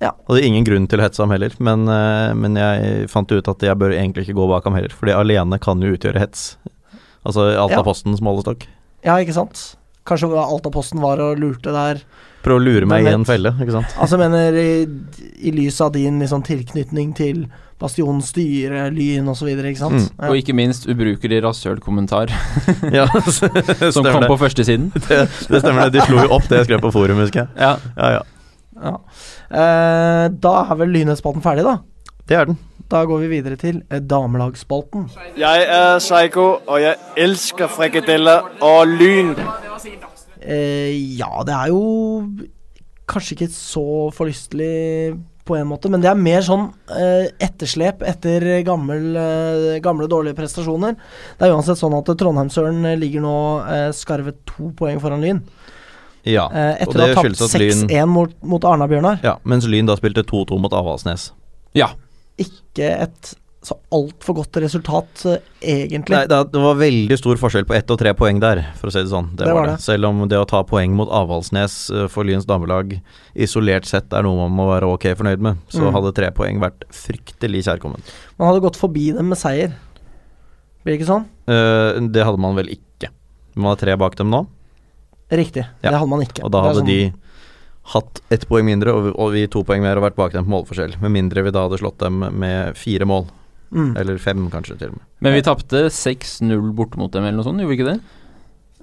Speaker 1: Ja.
Speaker 2: Hadde ingen grunn til å hetse ham heller, men, eh, men jeg fant ut at jeg bør egentlig ikke gå bak ham heller, fordi alene kan jo utgjøre hets. Altså
Speaker 1: Ja.
Speaker 2: Alta-postens målestokk.
Speaker 1: ja, ikke sant. Kanskje hva Altaposten var og lurte der.
Speaker 2: Prøv å lure meg i
Speaker 1: Hvem
Speaker 2: en
Speaker 1: vet?
Speaker 2: felle, ikke sant.
Speaker 1: Altså, jeg mener, i, i lys av din liksom, tilknytning til Bastion, styre, Lyn osv., ikke sant?
Speaker 2: Mm.
Speaker 3: Og ikke minst ubrukelig rasshølkommentar
Speaker 2: Ja, som
Speaker 3: som kom på førstesiden.
Speaker 2: Det, det stemmer det. De slo jo opp det jeg skrev på forum, husker jeg.
Speaker 3: Ja.
Speaker 2: Ja, ja.
Speaker 1: Ja. Eh, da er vel Lynhetsspalten ferdig, da.
Speaker 2: Det er den.
Speaker 1: Da går vi videre til eh, damelagsspalten.
Speaker 4: Jeg er Psycho, og jeg elsker frikadeller og lyn.
Speaker 1: Eh, ja, det er jo kanskje ikke så forlystelig på en måte, men det er mer sånn eh, etterslep etter gammel, eh, gamle dårlige prestasjoner. Det er uansett sånn at Trondheimsøren ligger nå eh, skarvet to poeng foran Lyn.
Speaker 2: Ja.
Speaker 1: Eh,
Speaker 2: og
Speaker 1: etter å
Speaker 2: det
Speaker 1: ha tapt
Speaker 2: skyldes at Lyn-
Speaker 1: 6-1 mot, mot Arna-Bjørnar.
Speaker 2: Ja, mens Lyn da spilte 2-2 mot Avaldsnes.
Speaker 3: ja.
Speaker 1: Ikke et så altfor godt resultat, eh, egentlig.
Speaker 2: Nei, det det var veldig stor forskjell på ett og tre poeng der, for å si det sånn. Det var det. Selv om det å ta poeng mot Avaldsnes eh, for Lyns damelag isolert sett er noe man må være ok fornøyd med, så
Speaker 1: Mm.
Speaker 2: hadde tre poeng vært fryktelig kjærkomment.
Speaker 1: Man hadde gått forbi dem med seier. Blir det ikke sånn?
Speaker 2: Eh, det hadde man vel ikke. Man har tre bak dem nå,
Speaker 1: Riktig.
Speaker 2: Ja.
Speaker 1: Det hadde man ikke.
Speaker 2: og da
Speaker 1: Det er
Speaker 2: hadde
Speaker 1: sånn-
Speaker 2: de hatt ett poeng mindre og vi, og vi to poeng mer og vært bak dem på målforskjell. Med mindre vi da hadde slått dem med fire mål,
Speaker 1: mm.
Speaker 2: eller fem kanskje til og med.
Speaker 3: Men vi tapte 6-0 borte mot dem, eller noe sånt, gjorde vi ikke det?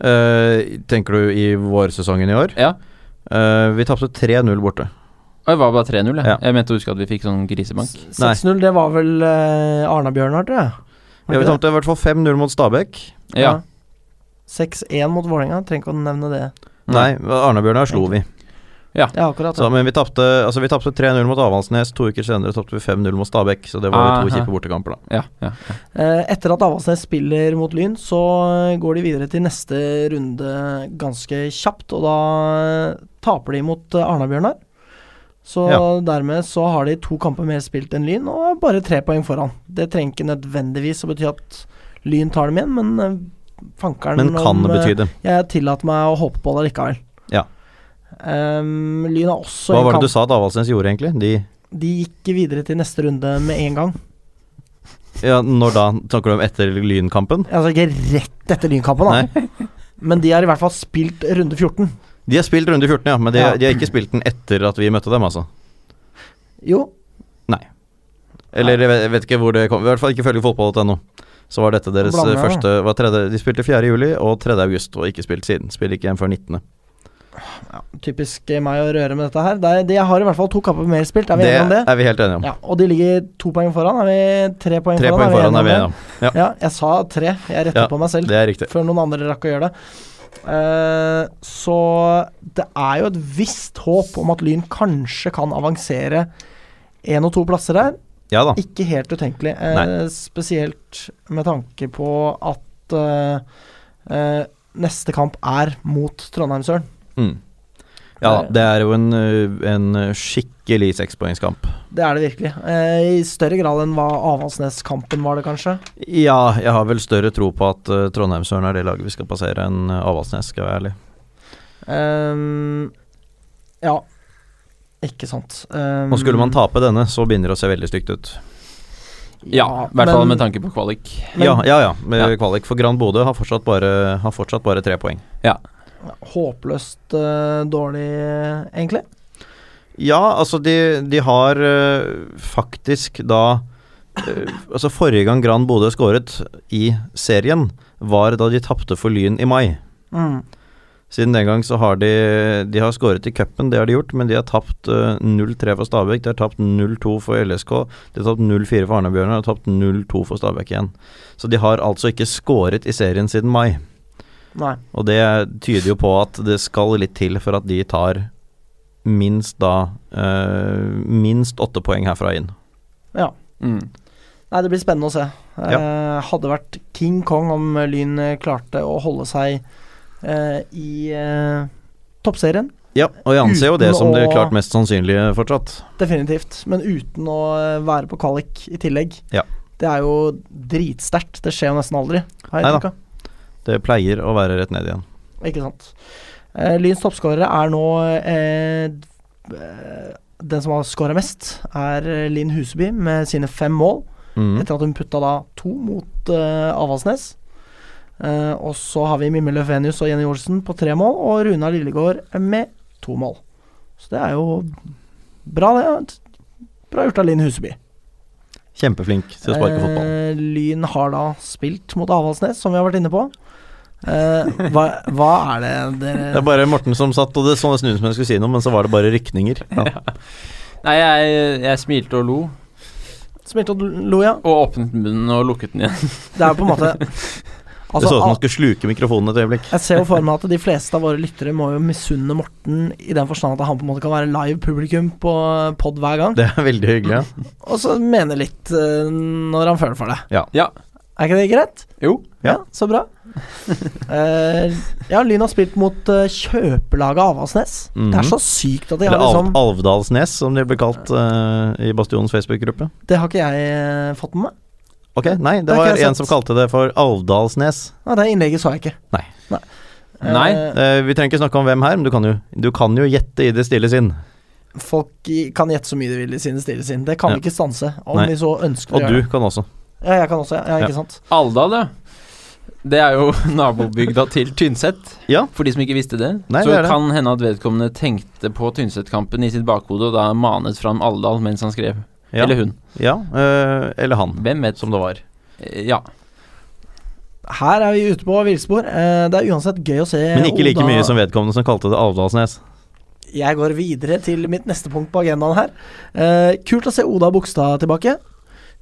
Speaker 2: Eh, tenker du i vårsesongen i år?
Speaker 3: Ja.
Speaker 2: Eh, vi tapte 3-0 borte.
Speaker 3: Oi, det var bare 3-0, jeg.
Speaker 2: Ja.
Speaker 3: Jeg mente å huske at vi fikk sånn grisebank.
Speaker 1: S- 6-0, det var vel eh, Arna-Bjørnar, tror jeg. Var
Speaker 2: Ja, vi
Speaker 1: ikke
Speaker 2: tapte i hvert fall 5-0 mot Stabæk.
Speaker 1: det?
Speaker 3: Ja.
Speaker 1: 6-1 mot Vålerenga, trenger ikke å nevne det.
Speaker 2: Nei, Arne-Bjørnar slo vi.
Speaker 1: Ja, akkurat.
Speaker 2: Så,
Speaker 1: Ja.
Speaker 2: men vi tapte altså, vi tapte 3-0 mot Avaldsnes. To uker senere tapte vi 5-0 mot Stabæk, så det
Speaker 1: Ah,
Speaker 2: var jo to
Speaker 3: Aha.
Speaker 2: kjipe bortekamper, da.
Speaker 3: Ja, ja.
Speaker 1: Eh, etter at Avaldsnes spiller mot Lyn, så eh, går de videre til neste runde ganske kjapt, og da eh, taper de mot eh, Arna-Bjørnar. Så
Speaker 2: Ja.
Speaker 1: dermed så har de to kamper mer spilt enn Lyn, og er bare tre poeng foran. Det trenger ikke nødvendigvis å bety at Lyn tar dem igjen, men eh, fankeren
Speaker 2: Men kan
Speaker 1: om,
Speaker 2: det
Speaker 1: eh,
Speaker 2: bety det?
Speaker 1: Jeg tillater meg å håpe på det likevel.
Speaker 2: Ja.
Speaker 1: Ehm, Lyn har også
Speaker 2: Hva
Speaker 1: en
Speaker 2: var det
Speaker 1: kamp
Speaker 2: du sa at Avaldsnes gjorde, egentlig? De
Speaker 1: De gikk videre til neste runde med en gang.
Speaker 2: Ja, når da? Snakker du om etter Lynkampen?
Speaker 1: Altså ikke rett etter Lynkampen, da.
Speaker 2: Nei.
Speaker 1: Men de har i hvert fall spilt runde 14.
Speaker 2: De har spilt runde 14, ja, men de,
Speaker 1: Ja.
Speaker 2: de har ikke spilt den etter at vi møtte dem, altså.
Speaker 1: Jo,
Speaker 2: Eller jeg vet, jeg vet ikke hvor det kom I hvert fall ikke følge fotball.no. Så var dette deres
Speaker 1: Blander, da.
Speaker 2: første var tredje, De spilte 4. juli og 3. august, og ikke spilt siden. Spiller ikke igjen før 19.
Speaker 1: ja, typisk meg å røre med dette her. Det er, de har i hvert fall to kamper mer spilt, er vi
Speaker 2: Det
Speaker 1: enige om det?
Speaker 2: er vi helt enige om.
Speaker 1: Ja, og de ligger to poeng foran. Er vi tre poeng
Speaker 2: Tre
Speaker 1: foran?
Speaker 2: poeng foran er vi
Speaker 1: enige om
Speaker 2: enige om.
Speaker 1: det? Ja, jeg sa tre. Jeg retter
Speaker 2: Ja,
Speaker 1: på meg selv
Speaker 2: Det er riktig.
Speaker 1: før noen andre rakk å gjøre det. Eh, så det er jo et visst håp om at Lyn kanskje kan avansere én og to plasser her.
Speaker 2: Ja da.
Speaker 1: Ikke helt utenkelig. Eh,
Speaker 2: Nei.
Speaker 1: spesielt med tanke på at eh, eh, neste kamp er mot Trondheim-Søren.
Speaker 2: Mm. Ja da. Det er jo en, ø, en eh, skikkelig sekspoengskamp.
Speaker 1: Det er det virkelig. Eh, I større grad enn hva Avaldsnes-kampen var det, kanskje.
Speaker 2: Ja, jeg har vel større tro på at uh, Trondheimsøren er det laget vi skal passere, enn ø, Avaldsnes, skal jeg være ærlig.
Speaker 1: Ehm, ja, ikke sant. Ehm,
Speaker 2: Og skulle man tape denne, så begynner det å se veldig stygt ut.
Speaker 3: Ja, i hvert fall
Speaker 1: Eh, men-
Speaker 3: med tanke på kvalik.
Speaker 1: Men-
Speaker 2: ja, ja, ja. Med
Speaker 3: Ja.
Speaker 2: kvalik. For Grand Bodø har fortsatt bare, har fortsatt bare tre poeng.
Speaker 1: Håpløst eh, dårlig, eh, egentlig.
Speaker 2: Ja, altså de, de har øh, faktisk da øh, Altså forrige gang Grand Bodø skåret i serien, var da de tapte for Lyn i mai.
Speaker 1: Mm.
Speaker 2: Siden den gang så har de De har skåret i cupen, det har de gjort, men de har tapt øh, 0-3 for Stabæk, de har tapt 0-2 for LSK, de har tapt 0-4 for Arnebjørnar og tapt 0-2 for Stabæk igjen. Så de har altså ikke skåret i serien siden mai.
Speaker 1: Nei.
Speaker 2: Og det tyder jo på at det skal litt til for at de tar minst da eh, Minst åtte poeng herfra inn.
Speaker 3: Mm.
Speaker 1: Nei, det blir spennende å se. Eh, hadde vært King Kong om Lyn eh, klarte å holde seg eh, i eh, toppserien.
Speaker 2: Ja, og jeg anser jo det
Speaker 1: Uten
Speaker 2: som det
Speaker 1: å-
Speaker 2: klart mest sannsynlige fortsatt.
Speaker 1: Definitivt. Men uten å eh, være på kvalik i tillegg.
Speaker 2: Ja.
Speaker 1: Det er jo dritsterkt. Det skjer jo nesten aldri. har jeg
Speaker 2: Neida.
Speaker 1: inntrykk av.
Speaker 2: Det pleier å være rett ned igjen.
Speaker 1: Ikke sant. Eh, Lyns toppskårere er nå eh, d- eh, Den som har skåra mest, er eh, Linn Huseby med sine fem mål.
Speaker 2: Mhm.
Speaker 1: Etter at hun putta da to mot eh, Avaldsnes. Eh, og så har vi Mimme Løfenius og Jenny Olsen på tre mål, og Runa Lillegård med to mål. Så det er jo bra, det. Bra gjort av Linn Huseby.
Speaker 2: Kjempeflink til å sparke fotball.
Speaker 1: Eh, Lyn har da spilt mot Avaldsnes, som vi har vært inne på. Eh, hva, hva er det dere
Speaker 2: Det er bare Morten som satt, og det så nesten ut som jeg skulle si noe, men så var det bare rykninger. Ja.
Speaker 3: Nei, jeg, jeg smilte og lo,
Speaker 1: Smilte og lo, ja.
Speaker 3: og åpnet munnen og lukket den igjen.
Speaker 1: Det er på en måte
Speaker 2: Det
Speaker 1: Altså,
Speaker 2: så ut som
Speaker 1: al-
Speaker 2: han skulle sluke mikrofonen et øyeblikk.
Speaker 1: jeg ser jo for meg at de fleste av våre lyttere må jo misunne Morten i den forstand at han på en måte kan være live publikum på pod hver gang,
Speaker 2: Det er veldig hyggelig, ja.
Speaker 1: og så mene litt eh, når han føler for det.
Speaker 2: Ja.
Speaker 3: Ja.
Speaker 1: Er ikke det greit?
Speaker 3: Jo.
Speaker 2: Ja.
Speaker 1: Så bra. Eh, ja, Lyn har spilt mot eh, kjøpelaget Avaldsnes. Det er så sykt at de har
Speaker 2: Mhm. Eller Al
Speaker 1: liksom
Speaker 2: Alvdalsnes, som det ble kalt eh, i Bastionens Facebook-gruppe.
Speaker 1: Det har ikke jeg eh, fått med meg.
Speaker 2: Ok, nei, det,
Speaker 1: Det har ikke
Speaker 2: var
Speaker 1: jeg
Speaker 2: en
Speaker 1: sett.
Speaker 2: som kalte det for Alvdalsnes.
Speaker 1: Nei, det innlegget så jeg ikke.
Speaker 2: Nei.
Speaker 1: Eh,
Speaker 3: Nei.
Speaker 2: Eh, vi trenger ikke snakke om hvem her, men du kan jo, du kan jo gjette i det stille sinn.
Speaker 1: folk i- kan gjette så mye de vil i sine stille sinn. Det kan
Speaker 2: Ja.
Speaker 1: vi ikke stanse, om
Speaker 2: Nei.
Speaker 1: vi så ønsker å
Speaker 2: Og
Speaker 1: gjøre
Speaker 2: du
Speaker 1: det.
Speaker 2: kan også.
Speaker 1: Ja, jeg kan også, ja. ja
Speaker 2: Ja.
Speaker 1: ikke sant.
Speaker 3: Alvdal, ja. Det er jo nabobygda til Tynset.
Speaker 2: Ja.
Speaker 3: For de som ikke visste det.
Speaker 2: Nei,
Speaker 3: så
Speaker 2: det er det.
Speaker 3: kan hende at vedkommende tenkte på Tynset-kampen i sitt bakhode, og da manet fram Alvdal mens han skrev.
Speaker 2: Ja,
Speaker 3: Eller hun.
Speaker 2: ja eh, eller han.
Speaker 3: Hvem vet.
Speaker 2: Som det var.
Speaker 3: Eh, Ja.
Speaker 1: Her er vi ute på villspor. Eh, Det er uansett gøy å se
Speaker 2: Men ikke like
Speaker 1: Oda-
Speaker 2: mye som vedkommende som kalte det Alvdalsnes.
Speaker 1: Jeg går videre til mitt neste punkt på agendaen her. Eh, Kult å se Oda Bogstad tilbake.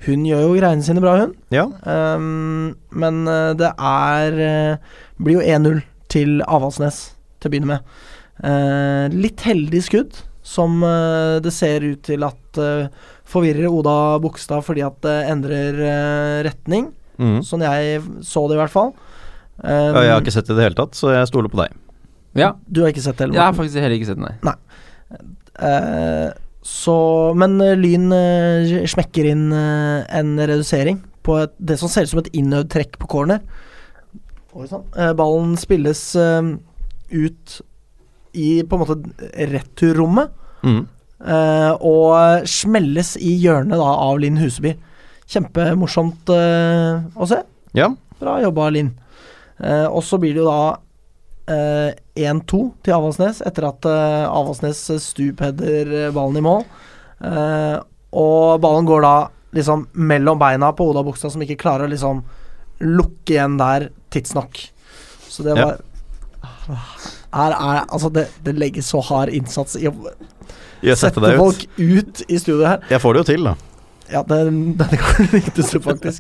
Speaker 1: Hun gjør jo greiene sine bra, hun.
Speaker 2: Ja.
Speaker 1: Um, men eh, det er eh, Blir jo 1-0 til Avaldsnes til å begynne med. Eh, litt heldig skudd, som eh, det ser ut til at eh, forvirrer Oda Bogstad fordi at det endrer eh, retning.
Speaker 2: Mhm.
Speaker 1: Sånn jeg så det, i hvert fall. Um,
Speaker 2: Ja, jeg har ikke sett det i det hele tatt, så jeg stoler på deg.
Speaker 3: Ja.
Speaker 1: Du har ikke sett det?
Speaker 3: Jeg har faktisk heller ikke sett den, nei.
Speaker 1: Eh, så Men eh, Lyn eh, smekker inn eh, en redusering på et, det som ser ut som et innøvd trekk på corner. Oi sann. Eh, ballen spilles eh, ut i på en måte returrommet,
Speaker 2: Mhm.
Speaker 1: eh, og smelles i hjørnet da av Linn Huseby. Kjempemorsomt eh, å se.
Speaker 2: Ja.
Speaker 1: Bra jobba, Linn. Eh, og så blir det jo da eh, 1-2 til Avaldsnes etter at eh, Avaldsnes stupheader eh, ballen i mål. Eh, og ballen går da liksom mellom beina på Oda Bogstad, som ikke klarer å liksom lukke igjen der tidsnok. Så det
Speaker 2: Ja.
Speaker 1: var Her er, altså det, det legges så hard innsats i å
Speaker 2: Jeg
Speaker 1: sette
Speaker 2: setter deg ut.
Speaker 1: folk ut i studio her.
Speaker 2: Jeg får det jo til, da.
Speaker 1: Ja, den, denne gangen lyktes det faktisk.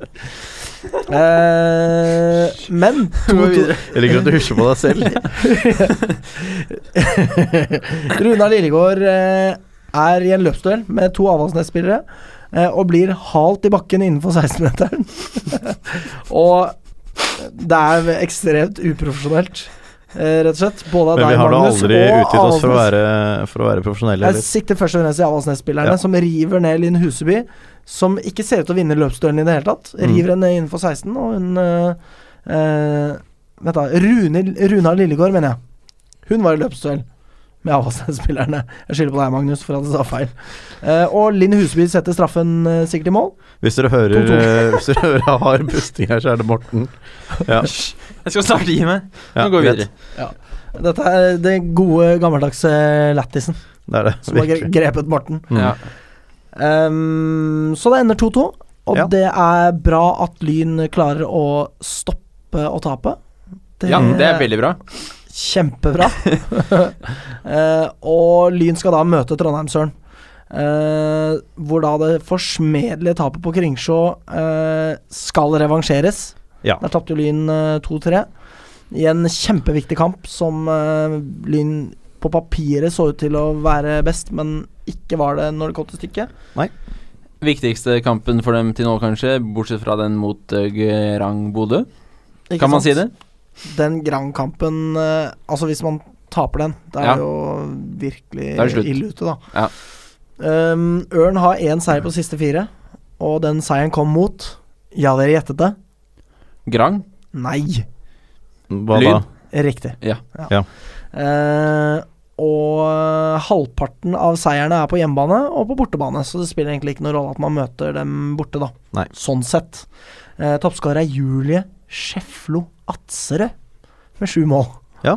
Speaker 1: Eh, men to, to,
Speaker 2: Jeg liker at du husker på deg selv.
Speaker 1: Runar Lillegård eh, er i en løpsduell med to Avaldsnes-spillere eh, og blir halt i bakken innenfor 16-meteren. og det er ekstremt uprofesjonelt, eh, rett og slett. Både av
Speaker 2: Men vi
Speaker 1: deg,
Speaker 2: har da
Speaker 1: Magnus,
Speaker 2: aldri
Speaker 1: og
Speaker 2: utgitt oss for å
Speaker 1: Avaldsnes.
Speaker 2: være, for å være profesjonelle.
Speaker 1: Jeg
Speaker 2: Eller?
Speaker 1: sikter først og fremst i Avaldsnes-spillerne,
Speaker 2: Ja.
Speaker 1: som river ned Linn Huseby. Som ikke ser ut til å vinne løpsduellen i det hele tatt.
Speaker 2: Mm.
Speaker 1: River henne innenfor 16, og hun eh, eh, Vent, da. Rune, Runar Lillegård, mener jeg. Hun var i løpsduell med Avaldsnes-spillerne. Jeg skylder på deg, Magnus, for at jeg sa feil. Eh, og Linn Huseby setter straffen eh, sikkert i mål.
Speaker 2: Hvis dere hører, eh, hvis dere hører jeg har pusting her, så er det Morten. Ja.
Speaker 3: Jeg skal snart gi meg.
Speaker 2: Ja,
Speaker 3: Nå går vi
Speaker 2: greit.
Speaker 3: videre.
Speaker 1: Dette er den gode, gammeldagse lættisen
Speaker 2: Det er det.
Speaker 1: som har gre-
Speaker 2: virkelig.
Speaker 1: grepet Morten.
Speaker 2: Mm.
Speaker 3: Ja.
Speaker 1: Ehm, så det ender 2-2, og
Speaker 2: Ja.
Speaker 1: det er bra at Lyn klarer å stoppe å tape.
Speaker 3: Ja, det er veldig bra.
Speaker 1: Kjempebra. Eh, og Lyn skal da møte Trondheim-Søren. Eh, hvor da det forsmedelige tapet på Kringsjå eh, skal revansjeres.
Speaker 2: Ja.
Speaker 1: Der tapte jo Lyn eh, 2-3 i en kjempeviktig kamp som eh, Lyn på papiret så ut til å være best, men ikke var det når det kom til stykket.
Speaker 3: Viktigste kampen for dem til nå, kanskje, bortsett fra den mot eh, Grang Bodø.
Speaker 1: Ikke
Speaker 3: Kan man
Speaker 1: sant?
Speaker 3: si det?
Speaker 1: Den Grand-kampen eh, Altså, hvis man taper den, det er
Speaker 3: Ja.
Speaker 1: jo virkelig
Speaker 3: Da er det slutt.
Speaker 1: ille ute, da.
Speaker 3: Ja.
Speaker 1: Um, Ørn har én seier på siste fire, og den seieren kom mot Ja, dere gjettet det?
Speaker 3: Grang?
Speaker 1: Nei.
Speaker 2: Hva da?
Speaker 3: Lyd.
Speaker 1: Riktig.
Speaker 3: Ja.
Speaker 2: Ja.
Speaker 1: Eh, og halvparten av seierne er på hjemmebane og på bortebane, så det spiller egentlig ikke noen rolle at man møter dem borte, da.
Speaker 2: Nei.
Speaker 1: Sånn sett. Eh, Toppskårer er Julie Skjeflo Atserød med sju mål.
Speaker 2: Ja.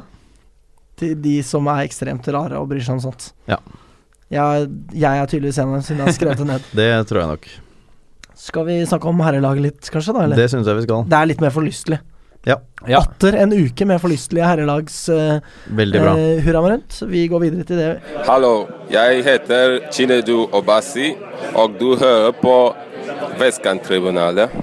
Speaker 1: Til de som er ekstremt rare og bryr seg om sånt.
Speaker 2: Ja.
Speaker 1: Jeg, jeg er tydeligvis en av dem, siden jeg har skrevet det ned.
Speaker 2: Det tror jeg nok.
Speaker 1: Skal vi snakke om herrelaget litt, kanskje? da, eller?
Speaker 2: Det syns jeg vi skal.
Speaker 1: Det er litt mer forlystelig.
Speaker 3: Ja.
Speaker 2: Ah.
Speaker 1: Atter en uke med forlystelige herrelags eh,
Speaker 2: Veldig bra.
Speaker 1: eh, hurra med rundt. Vi går videre til det
Speaker 5: Hallo, jeg heter Chinedu Obasi, og du hører på Vestkanttribunalet.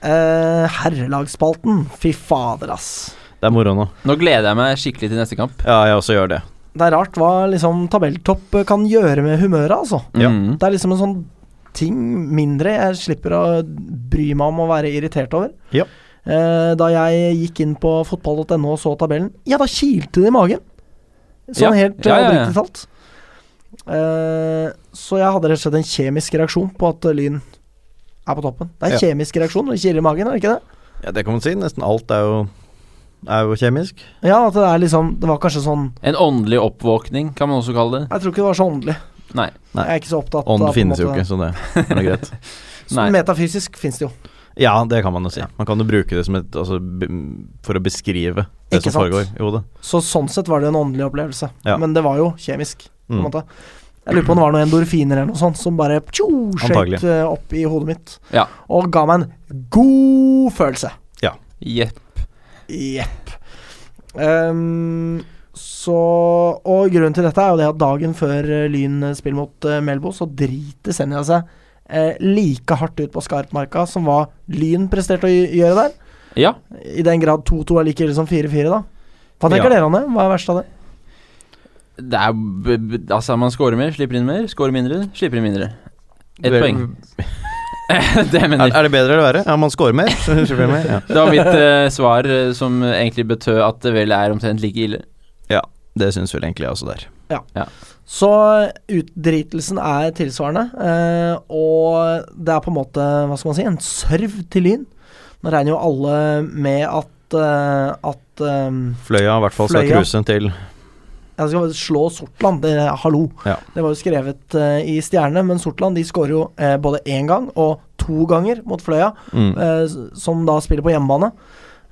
Speaker 1: Eh, herrelagsspalten. Fy fader, ass.
Speaker 2: Det er moro nå.
Speaker 3: Nå gleder jeg meg skikkelig til neste kamp.
Speaker 2: Ja, jeg også gjør det.
Speaker 1: Det er rart hva liksom tabelltopp kan gjøre med humøret, altså.
Speaker 2: Ja.
Speaker 3: Mm.
Speaker 1: Det er liksom en sånn ting mindre jeg slipper å bry meg om å være irritert over.
Speaker 2: Ja.
Speaker 1: Eh, da jeg gikk inn på fotball.no og så tabellen, ja, da kilte det i magen. Sånn
Speaker 3: Ja.
Speaker 1: helt
Speaker 3: Ja, ja, ja.
Speaker 1: oppriktig talt. Eh, så jeg hadde rett og slett en kjemisk reaksjon på at Lyn er på toppen. Det er
Speaker 2: Ja.
Speaker 1: kjemisk reaksjon når det kiler i magen, er det ikke det?
Speaker 2: ja, det kan man si. Nesten alt er jo, er jo kjemisk.
Speaker 1: Ja, at det er liksom Det var kanskje sånn
Speaker 3: En åndelig oppvåkning, kan man også kalle det.
Speaker 1: Jeg tror ikke det var så åndelig.
Speaker 3: Nei.
Speaker 2: Nei.
Speaker 1: Jeg er ikke så opptatt
Speaker 2: Ånd
Speaker 1: av på en
Speaker 2: finnes jo
Speaker 1: måte-
Speaker 2: ikke, så det er noe greit.
Speaker 1: Så
Speaker 3: Nei.
Speaker 1: Metafysisk fins det jo.
Speaker 2: Ja, det kan man jo si. Man kan jo bruke det som et altså, b for å beskrive det
Speaker 1: Ikke
Speaker 2: som
Speaker 1: sant?
Speaker 2: foregår i hodet.
Speaker 1: Så sånn sett var det en åndelig opplevelse.
Speaker 2: Ja.
Speaker 1: Men det var jo kjemisk. På en
Speaker 2: Mm.
Speaker 1: måte. Jeg lurer på om det var noen endorfiner eller noe sånt som bare tjo, skjøt
Speaker 2: Antagelig.
Speaker 1: eh, opp i hodet mitt.
Speaker 3: Ja.
Speaker 1: Og ga meg en god følelse.
Speaker 3: Jepp.
Speaker 1: Jepp. Ehm, så Og grunnen til dette er jo det at dagen før eh, Lyn eh, spiller mot eh, Melbo, så driter Senja seg eh, like hardt ut på Skarpmarka som hva Lyn presterte å gj- gjøre der.
Speaker 3: Ja.
Speaker 1: I den grad 2-2 er like ille som 4-4, da. Hva tenker
Speaker 2: Ja.
Speaker 1: dere om det? Hva er verst av det?
Speaker 3: Det er b b Altså, man scorer mer, slipper inn mer. Scorer mindre, slipper inn mindre. Ett
Speaker 2: Vel-
Speaker 3: poeng. det mener
Speaker 2: Er,
Speaker 3: jeg.
Speaker 2: er det bedre eller verre? Ja, man scorer mer. så slipper jeg mer. Ja.
Speaker 3: Det var mitt eh, svar eh, som egentlig betød at det vel er omtrent like ille.
Speaker 2: Det syns vel egentlig jeg også der.
Speaker 1: Så eh, utdritelsen er tilsvarende, eh, og det er på en måte, hva skal man si, en serv til Lyn. Nå regner jo alle med at, eh, at eh,
Speaker 2: Fløya i hvert fall skal
Speaker 1: Fløya.
Speaker 2: cruise til
Speaker 1: Jeg skal slå Sortland, det, hallo.
Speaker 2: Ja.
Speaker 1: Det var jo skrevet eh, i Stjerne, men Sortland de skårer jo eh, både én gang og to ganger mot Fløya,
Speaker 2: mm.
Speaker 1: eh, s- som da spiller på hjemmebane.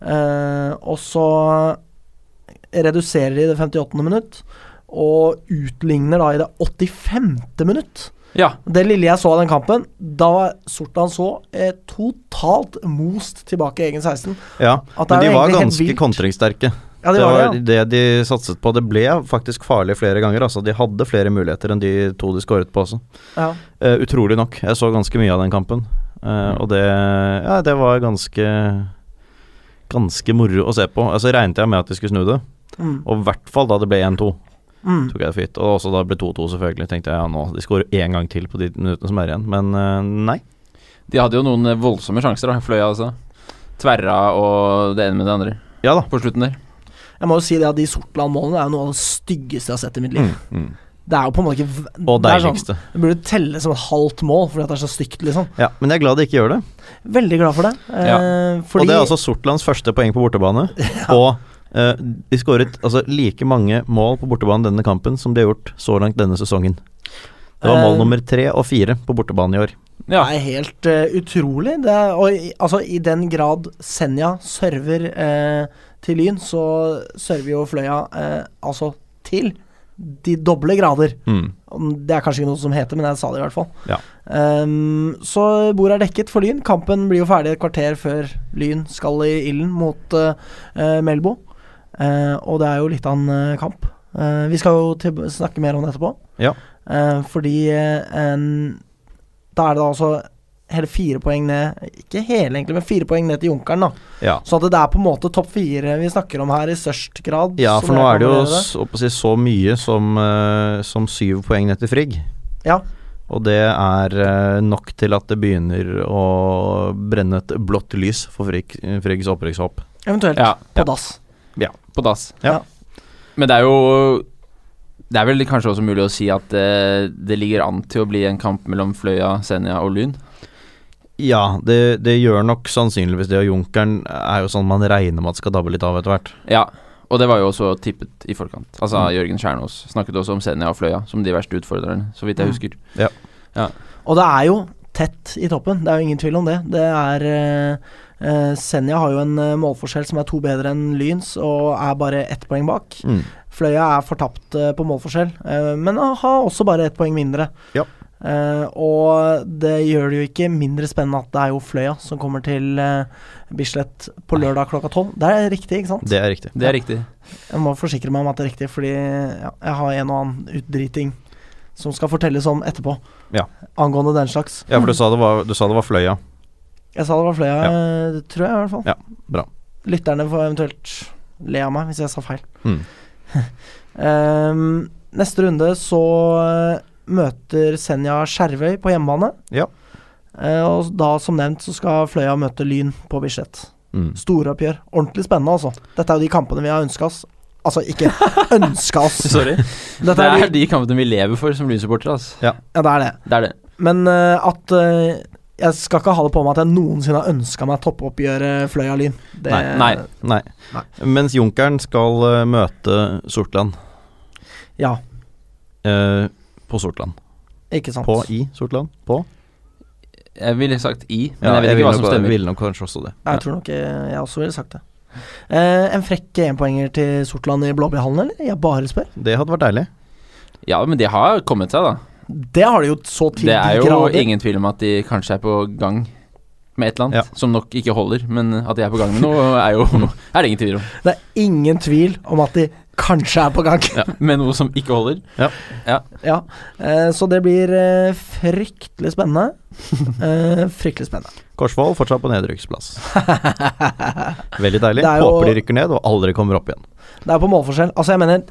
Speaker 1: Eh, og så reduserer de det 58. minutt, og utligner da i det 85. minutt.
Speaker 3: Ja.
Speaker 1: Det lille jeg så av den kampen, da var Sortland så eh, totalt most tilbake i egen 16.
Speaker 2: Ja,
Speaker 1: At det
Speaker 2: men
Speaker 1: er
Speaker 2: de
Speaker 1: jo
Speaker 2: var
Speaker 1: egentlig helt
Speaker 2: ganske
Speaker 1: vilt.
Speaker 2: kontringssterke.
Speaker 1: Ja, de
Speaker 2: det
Speaker 1: var det,
Speaker 2: var det de satset på. Det ble faktisk farlig flere ganger. Altså, de hadde flere muligheter enn de to de skåret på også.
Speaker 1: ja.
Speaker 2: Eh, utrolig nok. Jeg så ganske mye av den kampen. Eh, Og det Ja, det var ganske Ganske moro å se på. Altså regnet jeg med at de skulle snu det,
Speaker 1: ja. Mm.
Speaker 2: og i hvert fall da det ble 1-2.
Speaker 1: Mm.
Speaker 2: Tok jeg det for gitt. Og også da det ble 2-2, selvfølgelig. Tenkte jeg ja, nå De skårer én gang til på de minuttene som er igjen. Men eh, nei.
Speaker 3: De hadde jo noen eh, voldsomme sjanser, da. Fløya, altså. Tverra og det ene med det andre
Speaker 2: Ja da.
Speaker 3: på slutten der.
Speaker 1: Jeg må jo si det at de Sortland-målene er jo noe av det styggeste jeg har sett i mitt liv. Det er jo på en måte ikke v-
Speaker 2: Mm. Og
Speaker 1: det, er sånn,
Speaker 2: deiligste.
Speaker 1: det burde telle som et halvt mål, fordi at det er så stygt, liksom.
Speaker 2: Ja, men jeg er glad de ikke gjør det.
Speaker 1: Veldig glad for det. Eh, fordi
Speaker 2: Og det er altså Sortlands første poeng på bortebane. Og eh, de skåret altså, like mange mål på bortebane denne kampen som de har gjort så langt denne sesongen. Det var
Speaker 1: Eh,
Speaker 2: mål nummer tre og fire på bortebane i år.
Speaker 3: Ja.
Speaker 1: Det er helt eh, utrolig. Det er, og i, altså, i den grad Senja server eh, til Lyn, så server jo Fløya eh, altså til de doble grader.
Speaker 2: Hmm.
Speaker 1: Det er kanskje ikke noe som heter, men jeg sa det i hvert fall.
Speaker 2: Ja.
Speaker 1: Ehm, så bordet er dekket for Lyn. Kampen blir jo ferdig et kvarter før Lyn skal i ilden mot eh, eh, Melbo. Eh, og det er jo litt av en eh, kamp. Eh, vi skal jo til snakke mer om det etterpå.
Speaker 2: Ja.
Speaker 1: Eh, fordi eh, en, da er det da altså hele fire poeng ned Ikke hele, egentlig, men fire poeng ned til Junkeren. da
Speaker 2: Ja.
Speaker 1: Så at det er på en måte topp fire vi snakker om her i størst grad.
Speaker 2: ja,
Speaker 1: som
Speaker 2: for nå
Speaker 1: jeg
Speaker 2: er det jo
Speaker 1: kan vurdere
Speaker 2: s- å si, så mye som, eh, som syv poeng ned til Frigg.
Speaker 1: Ja.
Speaker 2: Og det er eh, nok til at det begynner å brenne et blått lys for Frigg, Friggs opprykkshopp.
Speaker 1: Eventuelt
Speaker 3: ja.
Speaker 1: på dass.
Speaker 3: På dass.
Speaker 2: Ja.
Speaker 3: Men det er jo Det er vel kanskje også mulig å si at eh, det ligger an til å bli en kamp mellom Fløya, Senja og Lyn.
Speaker 2: Ja, det, det gjør nok sannsynligvis det, og Junkeren er jo sånn man regner med at skal dabbe litt av etter hvert.
Speaker 3: Ja, og det var jo også tippet i forkant. Altså Jørgen Kjernås snakket også om Senja og Fløya som de verste utfordrerne, så vidt jeg
Speaker 1: Mm.
Speaker 3: husker.
Speaker 1: Og det er jo tett i toppen, det er jo ingen tvil om det. Det er eh, eh, Senja har jo en eh, målforskjell som er to bedre enn Lyns, og er bare ett poeng bak.
Speaker 2: Mm.
Speaker 1: Fløya er fortapt eh, på målforskjell, eh, men har også bare ett poeng mindre.
Speaker 2: Ja.
Speaker 1: Eh, og det gjør det jo ikke mindre spennende at det er jo Fløya som kommer til eh, Bislett på lørdag klokka tolv. Det er riktig, ikke sant?
Speaker 2: Det er riktig.
Speaker 3: Det er riktig.
Speaker 1: Jeg må forsikre meg om at det er riktig, fordi ja, jeg har en og annen utdriting som skal fortelles om etterpå.
Speaker 2: Ja.
Speaker 1: Angående den slags.
Speaker 2: Ja, for du sa det var, du sa det var Fløya.
Speaker 1: Jeg sa det var Fløya, eh, tror jeg i hvert fall.
Speaker 2: Ja, bra.
Speaker 1: Lytterne får eventuelt le av meg hvis jeg sa feil.
Speaker 2: Mm.
Speaker 1: Ehm, neste runde så eh, møter Senja Skjervøy på hjemmebane.
Speaker 2: Ja.
Speaker 1: Eh, og da, som nevnt, så skal Fløya møte Lyn på Bislett.
Speaker 2: Mm.
Speaker 1: Storoppgjør. Ordentlig spennende, altså. Dette er jo de kampene vi har ønska oss. Altså, ikke ønska oss.
Speaker 3: Sorry.
Speaker 1: Dette
Speaker 3: Det
Speaker 1: er
Speaker 3: er
Speaker 1: de,
Speaker 3: de kampene vi lever for som Lyn-supportere, altså.
Speaker 1: ja, det er det.
Speaker 3: Det er det.
Speaker 1: Men eh, at eh, Jeg skal ikke ha det på meg at jeg noensinne har ønska meg toppoppgjøret Fløya-Lyn. Det-
Speaker 2: Nei,
Speaker 3: Nei.
Speaker 2: Nei.
Speaker 1: Nei.
Speaker 2: Mens Junkeren skal eh, møte Sortland
Speaker 1: Ja,
Speaker 2: eh, på Sortland.
Speaker 1: ikke sant.
Speaker 2: På i Sortland. På.
Speaker 3: Jeg ville sagt I, men
Speaker 2: Ja,
Speaker 3: jeg vet ikke hva
Speaker 2: ville
Speaker 3: som
Speaker 2: nok-
Speaker 3: stemmer.
Speaker 2: Ville nok kanskje også det.
Speaker 1: Jeg tror nok eh, jeg også ville sagt det. Eh, en frekk enpoenger til Sortland i Blåbærhallen, eller? Jeg bare spør.
Speaker 2: Det hadde vært deilig.
Speaker 3: Ja, men de har kommet seg, da.
Speaker 1: Det har de jo så til
Speaker 3: Det
Speaker 1: de
Speaker 3: er jo
Speaker 1: grader.
Speaker 3: ingen tvil om at de kanskje er på gang med et eller annet,
Speaker 2: Ja.
Speaker 3: som nok ikke holder, men at de er på gang med noe, er jo er det ingen tvil om.
Speaker 1: Det er ingen tvil om at de kanskje er på gang.
Speaker 3: Ja, med noe som ikke holder.
Speaker 1: ja. Eh, så det blir eh, fryktelig spennende. Eh, fryktelig spennende.
Speaker 2: Korsvoll fortsatt på nedrykksplass. Veldig deilig.
Speaker 1: Det er jo-
Speaker 2: Håper de rykker ned og aldri kommer opp igjen.
Speaker 1: Det er på målforskjell. Altså, jeg mener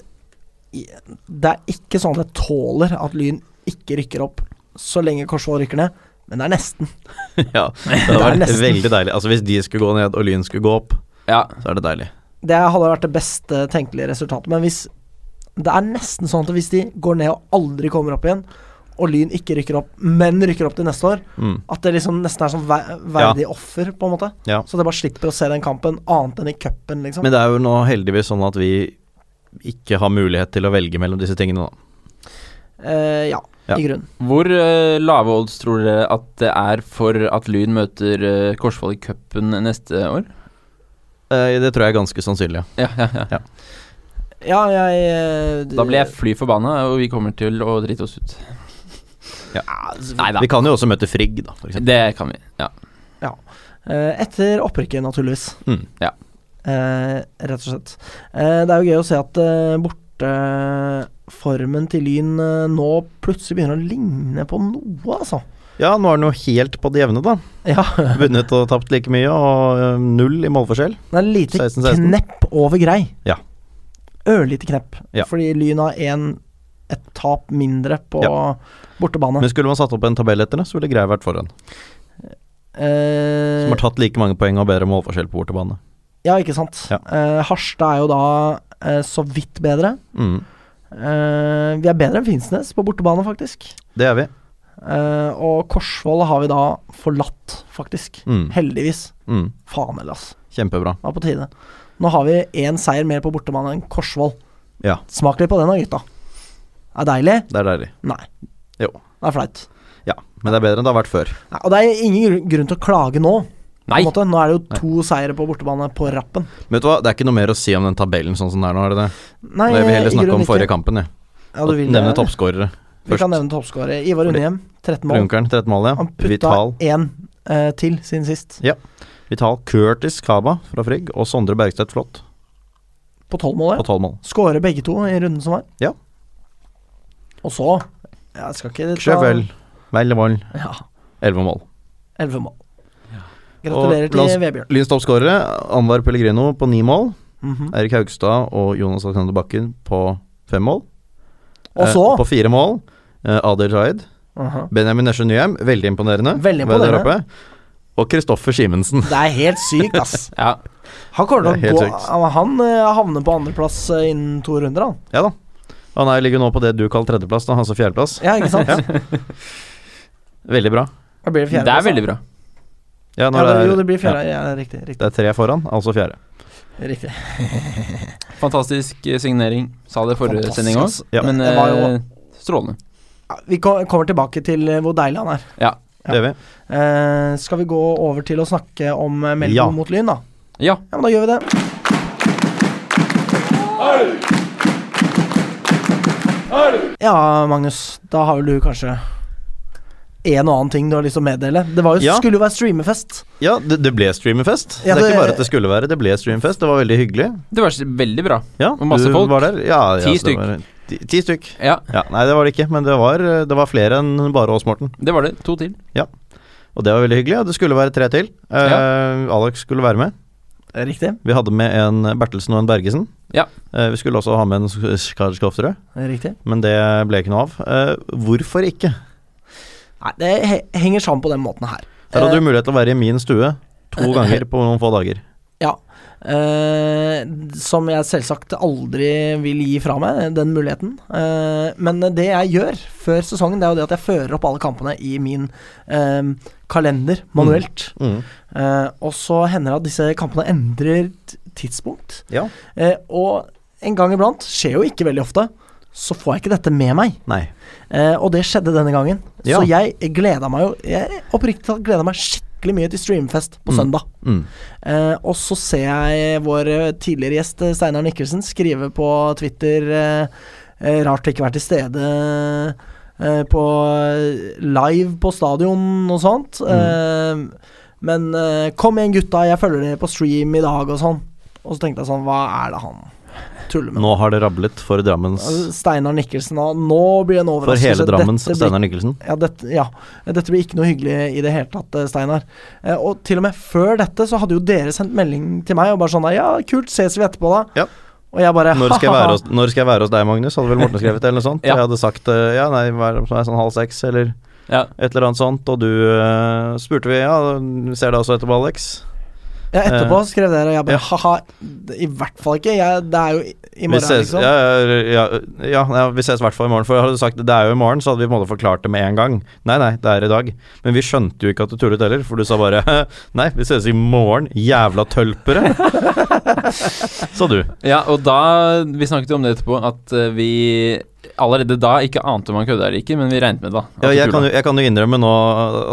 Speaker 1: i- Det er ikke sånn at jeg tåler at Lyn ikke rykker opp så lenge Korsvoll rykker ned, men det er nesten.
Speaker 2: ja, det
Speaker 1: Det er
Speaker 2: hadde vært
Speaker 1: nesten.
Speaker 2: veldig deilig. Altså Hvis de skulle gå ned og Lyn skulle gå opp,
Speaker 3: Ja,
Speaker 2: så er det deilig.
Speaker 1: Det hadde vært det beste tenkelige resultatet. Men hvis det er nesten sånn at hvis de går ned og aldri kommer opp igjen, og Lyn ikke rykker opp, men rykker opp til neste år,
Speaker 2: Mm.
Speaker 1: at det liksom nesten er sånn ver- verdig offer, på en måte.
Speaker 2: Ja.
Speaker 1: Så at jeg bare slipper å se den kampen annet enn i cupen, liksom.
Speaker 2: Men det er jo nå heldigvis sånn at vi ikke har mulighet til å velge mellom disse tingene, da.
Speaker 1: Eh, ja,
Speaker 2: Ja.
Speaker 1: i grunnen.
Speaker 3: Hvor eh, lave odds tror dere at det er for at Lyn møter eh, Korsvoll i cupen neste år?
Speaker 2: Eh, Det tror jeg er ganske sannsynlig. ja.
Speaker 3: Ja, ja, ja.
Speaker 1: Ja, jeg eh,
Speaker 3: Da blir jeg fly forbanna, og vi kommer til å drite oss ut. Nei da.
Speaker 2: Vi kan jo også møte Frigg, da, for eksempel.
Speaker 3: Det kan vi. Ja.
Speaker 1: Eh, Etter opprykket, naturligvis.
Speaker 2: Mm.
Speaker 3: Ja.
Speaker 1: eh, rett og slett. Eh, det er jo gøy å se at eh, borteformen til Lyn eh, nå plutselig begynner å ligne på noe, altså.
Speaker 2: Ja, nå er den jo helt på det jevne, da.
Speaker 1: Ja,
Speaker 2: Vunnet og tapt like mye, og eh, null i målforskjell.
Speaker 1: det er lite
Speaker 2: 16-16.
Speaker 1: knepp over grei.
Speaker 2: Ja.
Speaker 1: Ørlite knepp.
Speaker 2: Ja.
Speaker 1: Fordi Lyn har én et tap mindre på bortebane.
Speaker 2: Men skulle man satt opp en tabell etter det, så ville Grei vært foran.
Speaker 1: Eh,
Speaker 2: Som har tatt like mange poeng og bedre målforskjell på bortebane.
Speaker 1: Ja, ikke sant.
Speaker 2: Ja.
Speaker 1: Eh, Harstad er jo da eh, så vidt bedre.
Speaker 2: Mm.
Speaker 1: Eh, vi er bedre enn Finnsnes på bortebane, faktisk.
Speaker 2: Det er vi.
Speaker 1: Eh, og Korsvoll har vi da forlatt, faktisk.
Speaker 2: Mm.
Speaker 1: Heldigvis.
Speaker 2: Mm.
Speaker 1: Faen heller, ass.
Speaker 2: Kjempebra.
Speaker 1: Det var på tide. Nå har vi én seier mer på bortebane enn Korsvoll.
Speaker 2: Ja.
Speaker 1: Smak litt på den da, gutta. Er deilig?
Speaker 2: Det er deilig.
Speaker 1: Nei.
Speaker 2: Jo.
Speaker 1: Det er flaut.
Speaker 2: Ja. Men det er bedre enn det har vært før.
Speaker 1: Nei, Og det er ingen gru- grunn til å klage nå. På
Speaker 3: Nei!
Speaker 1: en måte. Nå er det jo to seire på bortebane på rappen.
Speaker 2: Men vet du hva, det er ikke noe mer å si om den tabellen sånn som den er nå, er det det?
Speaker 1: Nei,
Speaker 2: Jeg vil heller
Speaker 1: i
Speaker 2: snakke
Speaker 1: grunnen
Speaker 2: om forrige
Speaker 1: ikke.
Speaker 2: kampen, jeg.
Speaker 1: Ja, du vil det,
Speaker 2: Nevne
Speaker 1: eller?
Speaker 2: toppskårere.
Speaker 1: Vi kan
Speaker 2: først.
Speaker 1: nevne toppskårer. Ivar Undhjem, 13 mål.
Speaker 2: Runkeren, 13 mål, ja.
Speaker 1: Han putta
Speaker 2: Vital.
Speaker 1: én eh, til siden sist,
Speaker 2: Vital Curtis Kaba fra Frigg og Sondre Bergstedt Flått
Speaker 1: på 12 mål.
Speaker 2: på 12 mål.
Speaker 1: Skårer begge to i runden som var.
Speaker 2: Ja.
Speaker 1: Og så Jeg skal ikke ta
Speaker 2: Sjøvel, Vellevold,
Speaker 1: Ja,
Speaker 2: 11 mål.
Speaker 1: 11 mål. Gratulerer
Speaker 2: Og lands-
Speaker 1: til Vebjørn.
Speaker 2: Lyns toppskårere, Anwar Pellegrino på 9 mål.
Speaker 1: Mhm.
Speaker 2: Erik Haugstad og Jonas Alexander Bakken på 5 mål.
Speaker 1: Og så Mhm.
Speaker 2: Eh, på 4 mål, eh, Adel Zaid.
Speaker 1: Aha.
Speaker 2: Benjamin Nesje Nyheim, veldig imponerende.
Speaker 1: Veldig
Speaker 2: Med der
Speaker 1: imponerende.
Speaker 2: oppe. Og Kristoffer Simensen.
Speaker 1: Det er helt sykt, ass.
Speaker 3: Ja.
Speaker 1: Han kommer
Speaker 2: Det
Speaker 1: til
Speaker 2: er
Speaker 1: å
Speaker 2: helt
Speaker 1: gå Han, han eh, havner på andreplass eh, innen to runder, han.
Speaker 2: Ja da. Han er, ligger nå på det du kaller tredjeplass, da, altså fjerdeplass.
Speaker 1: Ja, ikke sant?
Speaker 2: Veldig bra.
Speaker 1: Da blir det
Speaker 3: Det
Speaker 1: fjerde.
Speaker 3: er veldig bra.
Speaker 2: Ja, når
Speaker 1: Ja, det, jo,
Speaker 2: det,
Speaker 1: det
Speaker 2: er,
Speaker 1: blir fjerde. Ja, riktig.
Speaker 2: det
Speaker 1: Riktig.
Speaker 2: er tre foran, altså fjerde.
Speaker 1: riktig.
Speaker 3: Fantastisk eh, signering. Sa det i forrige
Speaker 1: Fantastisk,
Speaker 3: sending òg,
Speaker 1: ass.
Speaker 2: Ja.
Speaker 3: men
Speaker 1: Det var jo-
Speaker 3: eh, strålende.
Speaker 1: Ja, Vi ko- kommer tilbake til eh, hvor deilig han er. Ja.
Speaker 2: Det er vi.
Speaker 1: Eh, skal vi gå over til å snakke om eh, Melbu
Speaker 2: Ja.
Speaker 1: mot Lyn, da?
Speaker 3: Ja.
Speaker 1: Ja, men da gjør vi det. Ja, Magnus. Da har vel du kanskje en og annen ting du har lyst til å meddele. Det var jo,
Speaker 2: Ja.
Speaker 1: skulle jo være streamerfest.
Speaker 2: Ja, det, det ble streamerfest.
Speaker 1: Ja,
Speaker 2: det, er
Speaker 1: det-
Speaker 2: ikke bare at det skulle være, det ble streamerfest. Det var veldig hyggelig.
Speaker 3: Det var s- veldig bra.
Speaker 2: Ja,
Speaker 3: Og masse
Speaker 2: du
Speaker 3: folk.
Speaker 2: Var der. Ja, ja,
Speaker 3: Ti
Speaker 2: så det
Speaker 3: stykk.
Speaker 2: var- Ti, ti stykk.
Speaker 3: Ja,
Speaker 2: Ja, nei, det var det ikke, men det var, det var flere enn bare oss, Morten.
Speaker 3: det var det. To til.
Speaker 2: Og det var veldig hyggelig. Og det skulle være tre til. Eh, Alex skulle være med.
Speaker 1: Riktig.
Speaker 2: Vi hadde med en Bertelsen og en Bergesen.
Speaker 3: Ja.
Speaker 2: Eh, vi skulle også ha med en Skar Skofterød,
Speaker 1: Riktig.
Speaker 2: men det ble ikke noe av. Eh, hvorfor ikke?
Speaker 1: Nei, det he- henger sammen på den måten her.
Speaker 2: Der hadde
Speaker 1: Eh,
Speaker 2: du mulighet til å være i min stue to ganger på noen få dager.
Speaker 1: Eh, som jeg selvsagt aldri vil gi fra meg, den muligheten. Eh, men det jeg gjør før sesongen, det er jo det at jeg fører opp alle kampene i min eh, kalender manuelt.
Speaker 2: Mm.
Speaker 1: Eh, og så hender det at disse kampene endrer t- tidspunkt.
Speaker 2: Ja.
Speaker 1: Eh, og en gang iblant, skjer jo ikke veldig ofte, så får jeg ikke dette med meg.
Speaker 2: Nei.
Speaker 1: Eh, og det skjedde denne gangen.
Speaker 2: Ja.
Speaker 1: Så jeg gleda meg jo Jeg oppriktig talt gleda meg skikkelig mye til streamfest på søndag.
Speaker 2: Mm.
Speaker 1: Eh, og så ser jeg vår eh, tidligere gjest eh, Steinar Nikkelsen skrive på Twitter eh, eh, Rart å ikke være til stede eh, på eh, live på stadion og sånt.
Speaker 2: Mm.
Speaker 1: Eh, men eh, kom igjen, gutta, jeg følger dere på stream i dag og sånn. Og så tenkte jeg sånn, hva er det han tuller med?
Speaker 2: Nå har det rablet for Drammens
Speaker 1: Steinar Nikkelsen, og nå blir det en
Speaker 2: For
Speaker 1: overraskelse.
Speaker 2: hele Drammens
Speaker 1: Dette blir
Speaker 2: Steinar Nikkelsen.
Speaker 1: ja dette, ja, dette blir ikke noe hyggelig i det hele tatt, eh, Steinar. Eh, og til og med før dette så hadde jo dere sendt melding til meg og bare sånn der, Ja, kult, ses vi etterpå, da.
Speaker 2: Ja.
Speaker 1: Og jeg bare
Speaker 2: Når skal, jeg være hos, når skal jeg være hos deg, Magnus? Hadde vel Morten skrevet eller noe sånt?
Speaker 3: Ja.
Speaker 2: Jeg hadde sagt eh, ja, nei, hva er det som er sånn halv seks eller
Speaker 3: Ja.
Speaker 2: et eller annet sånt, og du eh, spurte vi ja, ser deg også etterpå, Alex.
Speaker 1: Ja, etterpå
Speaker 2: Eh,
Speaker 1: skrev dere, og jeg
Speaker 2: ja.
Speaker 1: bare ha-ha. det- I hvert fall ikke. Jeg, det er jo i- i
Speaker 2: Vi
Speaker 1: morgen,
Speaker 2: ses,
Speaker 1: liksom.
Speaker 2: ja, ja, ja, ja, ja, vi ses i hvert fall i morgen. For hadde du sagt det er jo i morgen, så hadde vi på en måte forklart det med en gang. Nei, nei, det er i dag. Men vi skjønte jo ikke at du tullet heller, for du sa bare nei, vi ses i morgen, jævla tølpere. Sa du.
Speaker 3: Ja, og da Vi snakket jo om det etterpå, at eh, vi allerede da ikke ante om han kødda eller ikke, men vi regnet med det, da. at
Speaker 2: Ja,
Speaker 3: det
Speaker 2: jeg,
Speaker 3: tulla.
Speaker 2: kan jo, jeg kan jo innrømme nå,